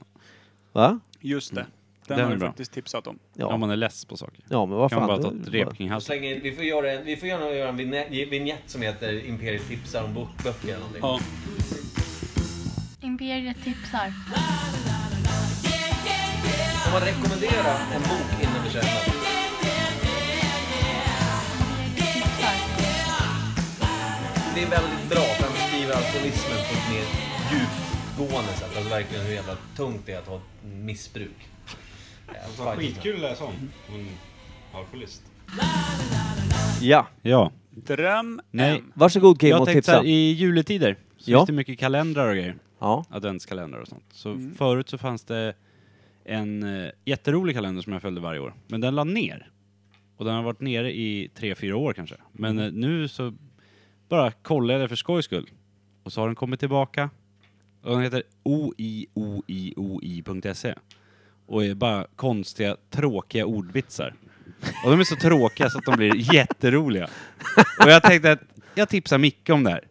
Speaker 2: Va?
Speaker 3: Just
Speaker 2: Mm.
Speaker 3: det. Den,
Speaker 1: Den
Speaker 3: har
Speaker 1: är
Speaker 3: du
Speaker 1: bra.
Speaker 3: faktiskt tipsat om.
Speaker 2: Ja.
Speaker 1: Om man är less på saker.
Speaker 2: Ja men vad
Speaker 1: Kan
Speaker 2: fan.
Speaker 1: man bara ta
Speaker 2: det-
Speaker 1: ett rep kring halsen.
Speaker 2: vi får göra en, vi får gärna göra en vignett som heter Imperiet tipsar om böcker eller någonting.
Speaker 3: Ja.
Speaker 4: Imperiet tipsar.
Speaker 2: Om man rekommenderar en bok innan vi köper Det är väldigt bra för han beskriver alkoholismen på ett mer djupgående sätt. Alltså verkligen hur jävla tungt det är att ha ett missbruk.
Speaker 1: Skitkul att läsa om.
Speaker 3: Mm.
Speaker 1: Hon alkoholist.
Speaker 2: Ja,
Speaker 1: Ja.
Speaker 3: Dröm
Speaker 1: Nej.
Speaker 3: M.
Speaker 2: varsågod Kim
Speaker 1: Jag
Speaker 2: och
Speaker 1: tänkte
Speaker 2: tipsa.
Speaker 1: såhär, i juletider så
Speaker 2: Ja.
Speaker 1: finns det mycket kalendrar och grejer.
Speaker 2: Ja.
Speaker 1: Adventskalendrar och sånt. Så förut så fanns det en eh, jätterolig kalender som jag följde varje år. Men den la ner. Och den har varit nere i tre, fyra år kanske. Men eh, nu så bara kollade jag det för skojs skull. Och så har den kommit tillbaka. Och den heter oioioi.se. Och är bara konstiga, tråkiga ordvitsar. Och de är så tråkiga så att de blir jätteroliga. Och jag tänkte att jag tipsar Micke om det här.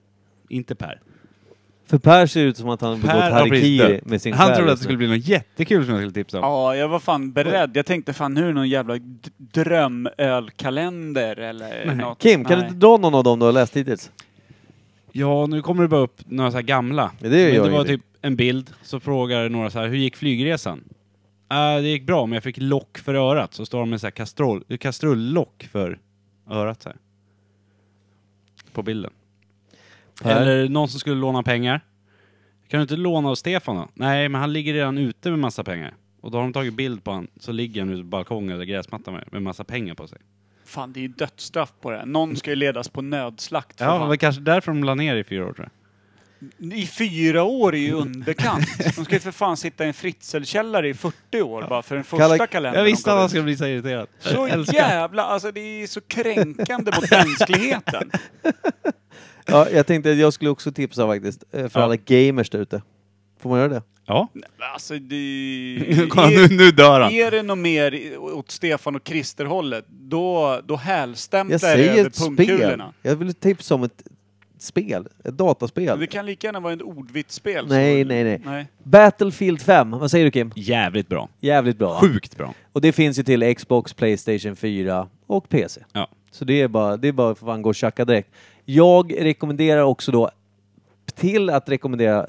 Speaker 1: Inte Per.
Speaker 2: För Per ser ut som att han begått
Speaker 1: Per har precis
Speaker 2: harikiri
Speaker 1: dött.
Speaker 2: med sin
Speaker 1: Han
Speaker 2: själ alltså. liksom.
Speaker 1: trodde att
Speaker 2: just
Speaker 1: det
Speaker 2: nu.
Speaker 1: skulle bli något jättekul som jag skulle tipsa om.
Speaker 3: Ja, jag var fan beredd. Jag tänkte fan nu är det någon jävla d- drömölkalender eller något.
Speaker 2: Kim, kan
Speaker 3: Nej.
Speaker 2: du inte dra någon av dem du har läst hittills?
Speaker 1: Ja, nu kommer det bara upp några så här gamla.
Speaker 2: Ja, det gör
Speaker 1: men
Speaker 2: jag
Speaker 1: det var
Speaker 2: ingenting.
Speaker 1: typ en bild, så frågar några så här, hur gick flygresan? Äh, det gick bra, men jag fick lock för örat. Så står de med så här kastrull, kastrullock för örat så här. På bilden.
Speaker 2: Per?
Speaker 1: Eller någon som skulle låna pengar. Kan du inte låna av Stefan då? Nej, men han ligger redan ute med massa pengar. Och då har de tagit bild på han, så ligger han ute på balkongen eller gräsmattan med, med massa pengar på sig.
Speaker 3: Fan, det är ju dödsstraff på det här. Någon ska ju ledas på nödslakt. för
Speaker 1: Ja, det
Speaker 3: fan.
Speaker 1: var kanske därför de la ner i fyra år tror jag.
Speaker 3: I fyra år är ju underkant. De ska ju för fan sitta i en fritzelkällare i 40 år bara för den första
Speaker 2: Kalla-
Speaker 3: kalendern.
Speaker 1: Jag visste
Speaker 3: de
Speaker 1: att
Speaker 3: gav
Speaker 1: han
Speaker 3: ut.
Speaker 1: skulle bli så irriterad.
Speaker 3: Så jävla, alltså det är så kränkande mot mänskligheten.
Speaker 2: Ja, jag tänkte att jag skulle också tipsa faktiskt. eh, För
Speaker 1: Ja.
Speaker 2: alla gamers där ute. Får man göra det?
Speaker 1: Ja.
Speaker 3: Alltså det...
Speaker 1: Kolla, nu, nu dör han.
Speaker 3: Är det något mer i- åt Stefan och Christer-hållet, då, då
Speaker 2: Jag
Speaker 3: hälstämplar det
Speaker 2: säger
Speaker 3: över
Speaker 2: ett spel.
Speaker 3: pungkulorna.
Speaker 2: Jag vill tipsa om ett spel. Ett dataspel.
Speaker 3: Det kan lika gärna vara ett ordvitsspel.
Speaker 2: Nej,
Speaker 3: så...
Speaker 2: nej, nej.
Speaker 3: nej.
Speaker 2: Battlefield 5. Vad säger du Kim?
Speaker 1: Jävligt bra.
Speaker 2: Jävligt bra. va?
Speaker 1: Sjukt bra.
Speaker 2: Och det finns ju till Xbox, Playstation 4 och PC.
Speaker 1: Ja.
Speaker 2: Så det är bara, det är bara för fan gå och tjacka direkt. Jag rekommenderar också då, till att rekommendera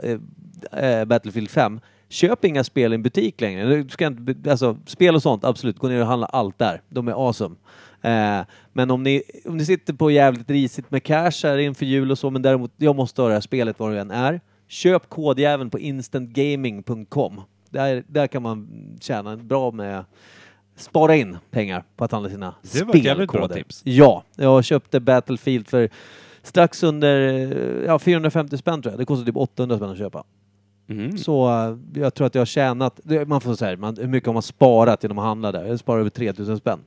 Speaker 2: eh, eh, Battlefield 5, köp inga spel i en butik längre. Du ska inte, be- alltså, spel och sånt, absolut, gå ner och handla allt där. De är awesome. Eh, men om ni, om ni sitter på jävligt risigt med cash här inför jul och så, men däremot, jag måste ha det här spelet var det än är. Köp kodjäveln på instantgaming.com. Där, där kan man tjäna en bra med spara in pengar på att handla sina
Speaker 1: Det var ett jävligt bra
Speaker 2: spelkoder.
Speaker 1: tips.
Speaker 2: Ja, jag köpte Battlefield för strax under eh, ja, 450 spänn tror jag. Det kostade typ 800 spänn att köpa.
Speaker 1: Mm.
Speaker 2: Så eh, jag tror att jag har tjänat, det- man får säga man, hur mycket har man sparat genom att handla där? Jag sparar över 3000 spänn.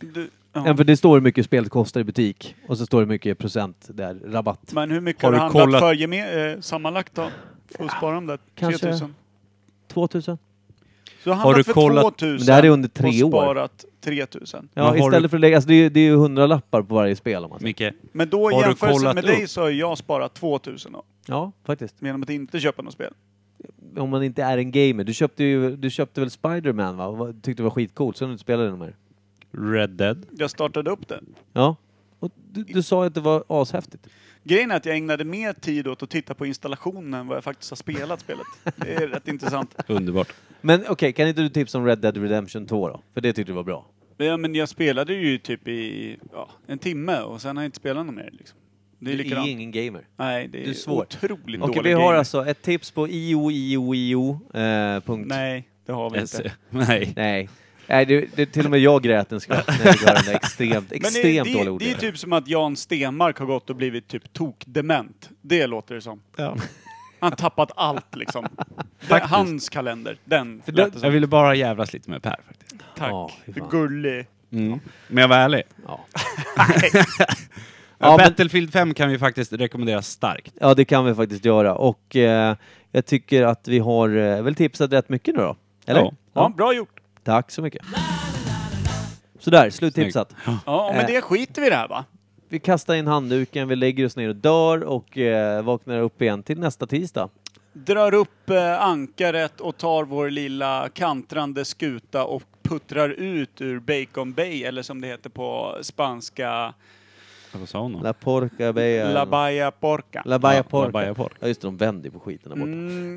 Speaker 3: Du,
Speaker 2: Ja.
Speaker 3: ja.
Speaker 2: För det står hur mycket spelet kostar i butik och så står det hur mycket procent där, rabatt.
Speaker 3: Men hur mycket
Speaker 1: Har
Speaker 3: har du
Speaker 1: du
Speaker 3: handlat
Speaker 1: kollat-
Speaker 3: för geme- eh, sammanlagt då? För att spara de där
Speaker 2: kanske.
Speaker 3: 3000?
Speaker 2: 2000?
Speaker 3: Så du har
Speaker 1: Har du
Speaker 3: handlat
Speaker 1: kollat-
Speaker 3: för 2000
Speaker 2: Men det här är under tre
Speaker 3: och
Speaker 2: år.
Speaker 3: sparat 3000?
Speaker 2: Ja,
Speaker 1: Men har
Speaker 2: istället
Speaker 1: du-
Speaker 2: för att lägga, alltså det är ju- det är ju 100 lappar på varje spel om man säger.
Speaker 1: Micke,
Speaker 3: Men då
Speaker 1: Har
Speaker 3: i
Speaker 1: du
Speaker 3: jämförelse
Speaker 1: kollat
Speaker 3: med dig
Speaker 1: upp?
Speaker 3: så har jag sparat 2000 då,
Speaker 2: Ja, faktiskt.
Speaker 3: genom att inte köpa något spel.
Speaker 2: om man inte är en gamer. Du köpte ju, du köpte väl Spider-Man va? Och vad- Tyckte det var skitcoolt, sen du spelade den mer.
Speaker 1: Red Dead.
Speaker 3: Jag startade upp det.
Speaker 2: Ja. Och du, du sa ju att det var ashäftigt.
Speaker 3: Grejen är att jag ägnade mer tid åt att titta på installationen än vad jag faktiskt har spelat spelet. Det är rätt intressant.
Speaker 1: Underbart.
Speaker 2: Men okej, kan inte du tipsa om Red Dead Redemption 2 då? För det tyckte du var bra.
Speaker 3: Ja, men jag spelade ju typ i ja, en timme och sen har jag inte spelat något mer. Liksom. Det
Speaker 2: Du
Speaker 3: är
Speaker 2: är
Speaker 3: likadant.
Speaker 2: ingen gamer.
Speaker 3: Nej, det är,
Speaker 2: Du är svår.
Speaker 3: otroligt
Speaker 2: Okej,
Speaker 3: dålig
Speaker 2: vi har
Speaker 3: game.
Speaker 2: alltså ett tips på ioioio.se.
Speaker 3: Nej, det har vi inte.
Speaker 1: S- Nej.
Speaker 2: eh, Nej. Nej, det, det, till och med jag grät en skratt när jag fick höra den där extremt,
Speaker 3: Men det,
Speaker 2: extremt dålig
Speaker 3: det, det är
Speaker 2: ordningen.
Speaker 3: typ som att Jan Stenmark har gått och blivit typ tokdement. Det låter det som. Han har tappat allt liksom. Det,
Speaker 1: Faktiskt.
Speaker 3: hans kalender, den
Speaker 1: För det-
Speaker 3: lät det
Speaker 1: Jag
Speaker 3: som.
Speaker 1: ville bara jävlas lite med Per faktiskt.
Speaker 3: Tack.
Speaker 2: Ja, fy fan.
Speaker 3: Gullig.
Speaker 1: Mm. Men jag var ärlig.
Speaker 2: Ja.
Speaker 1: Ja, Typ
Speaker 2: Ja, men-
Speaker 1: Battlefield 5 kan vi faktiskt rekommendera starkt.
Speaker 2: Ja, det kan vi faktiskt göra. Och eh, jag tycker att vi har eh, väl tipsat rätt mycket nu då? Eller?
Speaker 1: Ja.
Speaker 3: Ja, bra gjort.
Speaker 2: Tack så mycket. Sådär, sluttipsat.
Speaker 3: Ja,
Speaker 2: Eh.
Speaker 3: men det skiter vi i det här va?
Speaker 2: Vi kastar in handduken, vi lägger oss ner och dör och eh, vaknar upp igen till nästa tisdag.
Speaker 3: Drar upp eh, ankaret och tar vår lilla kantrande skuta och puttrar ut ur Bacon Bay, eller som det heter på spanska,
Speaker 1: Vad sa hon då?
Speaker 2: La porca bea.
Speaker 3: La Bahia Porca.
Speaker 2: Eh. La Baia
Speaker 1: Ja,
Speaker 2: Porca.
Speaker 1: La Baia Porca. Mm.
Speaker 2: Ja just det, de vänder ju på skiten där borta.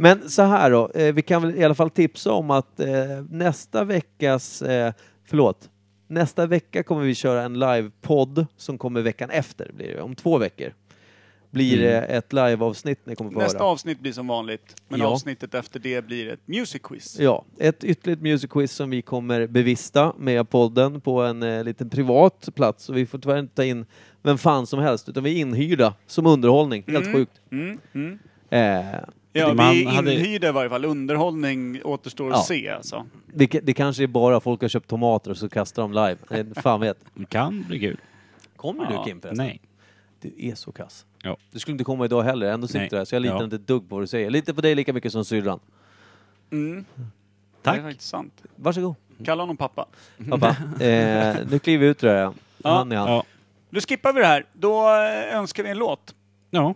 Speaker 2: Men så här då, eh, vi kan väl i alla fall tipsa om att eh, nästa veckas, eh, förlåt, nästa vecka kommer vi köra en livepodd som kommer veckan efter, blir det, ju. om två veckor. Blir
Speaker 1: Mm.
Speaker 2: det ett liveavsnitt ni kommer få
Speaker 3: Nästa
Speaker 2: höra.
Speaker 3: avsnitt blir som vanligt, men
Speaker 2: Ja.
Speaker 3: avsnittet efter det blir ett music quiz.
Speaker 2: Ja, ett ytterligare music quiz som vi kommer bevista med podden på en eh, liten privat plats. Och vi får tyvärr inte ta in vem fan som helst, utan vi är inhyrda som underhållning. Helt sjukt.
Speaker 3: Mm, mm.
Speaker 2: Eh,
Speaker 3: Ja,
Speaker 1: Man
Speaker 3: vi
Speaker 1: hade-
Speaker 3: inhyrde i varje fall. Underhållning återstår att
Speaker 2: Ja.
Speaker 3: se alltså.
Speaker 2: Det, ka- det kanske är bara folk har köpt tomater och så kastar de live. Eh, Fan vet.
Speaker 1: Det kan bli kul.
Speaker 2: Kommer
Speaker 3: Ja,
Speaker 2: du Kim förresten?
Speaker 1: Nej.
Speaker 2: Du är så kass.
Speaker 1: Ja.
Speaker 2: Du skulle inte komma idag heller, ändå sitter
Speaker 1: Nej.
Speaker 2: du här. Så jag litar
Speaker 1: Ja.
Speaker 2: inte ett dugg på vad du säger. Jag litar på dig lika mycket som syrran.
Speaker 3: Mm. Det är
Speaker 1: Tack.
Speaker 3: faktiskt sant.
Speaker 2: Varsågod.
Speaker 3: Kalla honom pappa.
Speaker 2: Pappa, eh, nu kliver vi ut tror jag.
Speaker 3: Ja.
Speaker 2: Han är han.
Speaker 1: Mm. Ja.
Speaker 3: Nu skippar vi det här. Då eh, önskar vi en låt.
Speaker 1: ja.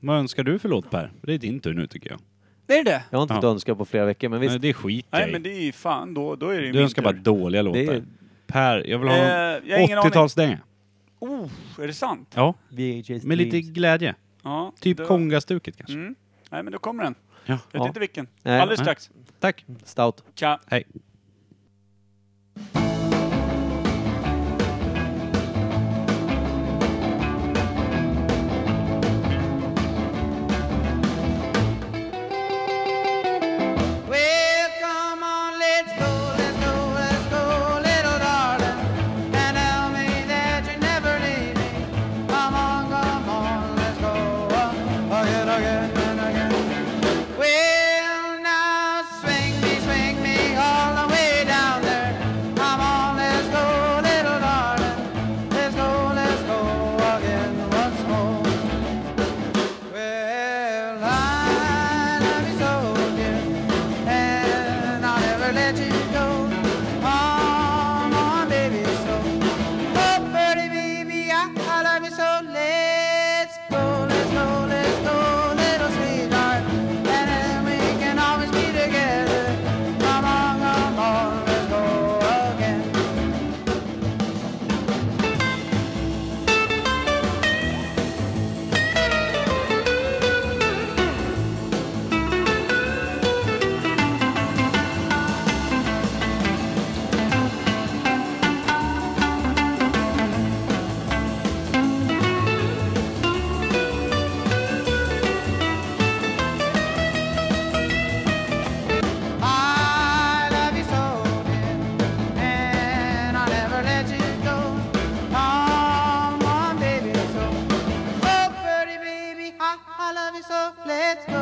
Speaker 1: Vad önskar du för låt Per? Det är din tur nu tycker jag.
Speaker 3: Det är det?
Speaker 2: Jag har inte
Speaker 1: Ja.
Speaker 2: fått önska på flera veckor, men visst.
Speaker 1: Nej, det är skit
Speaker 3: Nej,
Speaker 1: i.
Speaker 3: men det är ju fan, då, då är det ju
Speaker 1: Du
Speaker 3: min
Speaker 1: önskar bara
Speaker 3: tur.
Speaker 1: dåliga låtar.
Speaker 2: Det är-
Speaker 1: Per, jag vill ha
Speaker 3: Eh,
Speaker 1: en
Speaker 3: jag har ingen aning.
Speaker 1: 80-talsdänga.
Speaker 3: Oh, är det sant?
Speaker 1: Ja,
Speaker 2: VHS
Speaker 1: med lite
Speaker 2: Dreams.
Speaker 1: glädje.
Speaker 3: Ja.
Speaker 1: Typ
Speaker 3: då-
Speaker 1: Kongastuket kanske.
Speaker 3: Mm. Nej, men då kommer den.
Speaker 1: Ja.
Speaker 3: Jag vet
Speaker 2: Ja.
Speaker 3: inte vilken.
Speaker 2: Nej,
Speaker 3: Alldeles
Speaker 1: nej.
Speaker 3: strax.
Speaker 2: Tá
Speaker 1: Tack.
Speaker 2: Stout.
Speaker 3: Tja.
Speaker 1: Hej.
Speaker 12: Well, come on, let's go, let's go, let's go, little darling. And tell me that you never leave me. Come on, come on, let's go. uh, Again, again, and again. Well, now swing me, swing me all the way down there. Come on, let's go, little darling. Let's go, let's go again once more. Well, I love you so, dear, and I'll never let you go. Come on, baby, so. Oh, pretty baby, I, I love you so. Let's go, let's go, let's go, little sweetheart. And then we can always be together. Come on, come on, let's go again. I love you so, dear, and I'll never let you go. Come on, baby, so. Oh, pretty baby, I, I love you so. Let's go,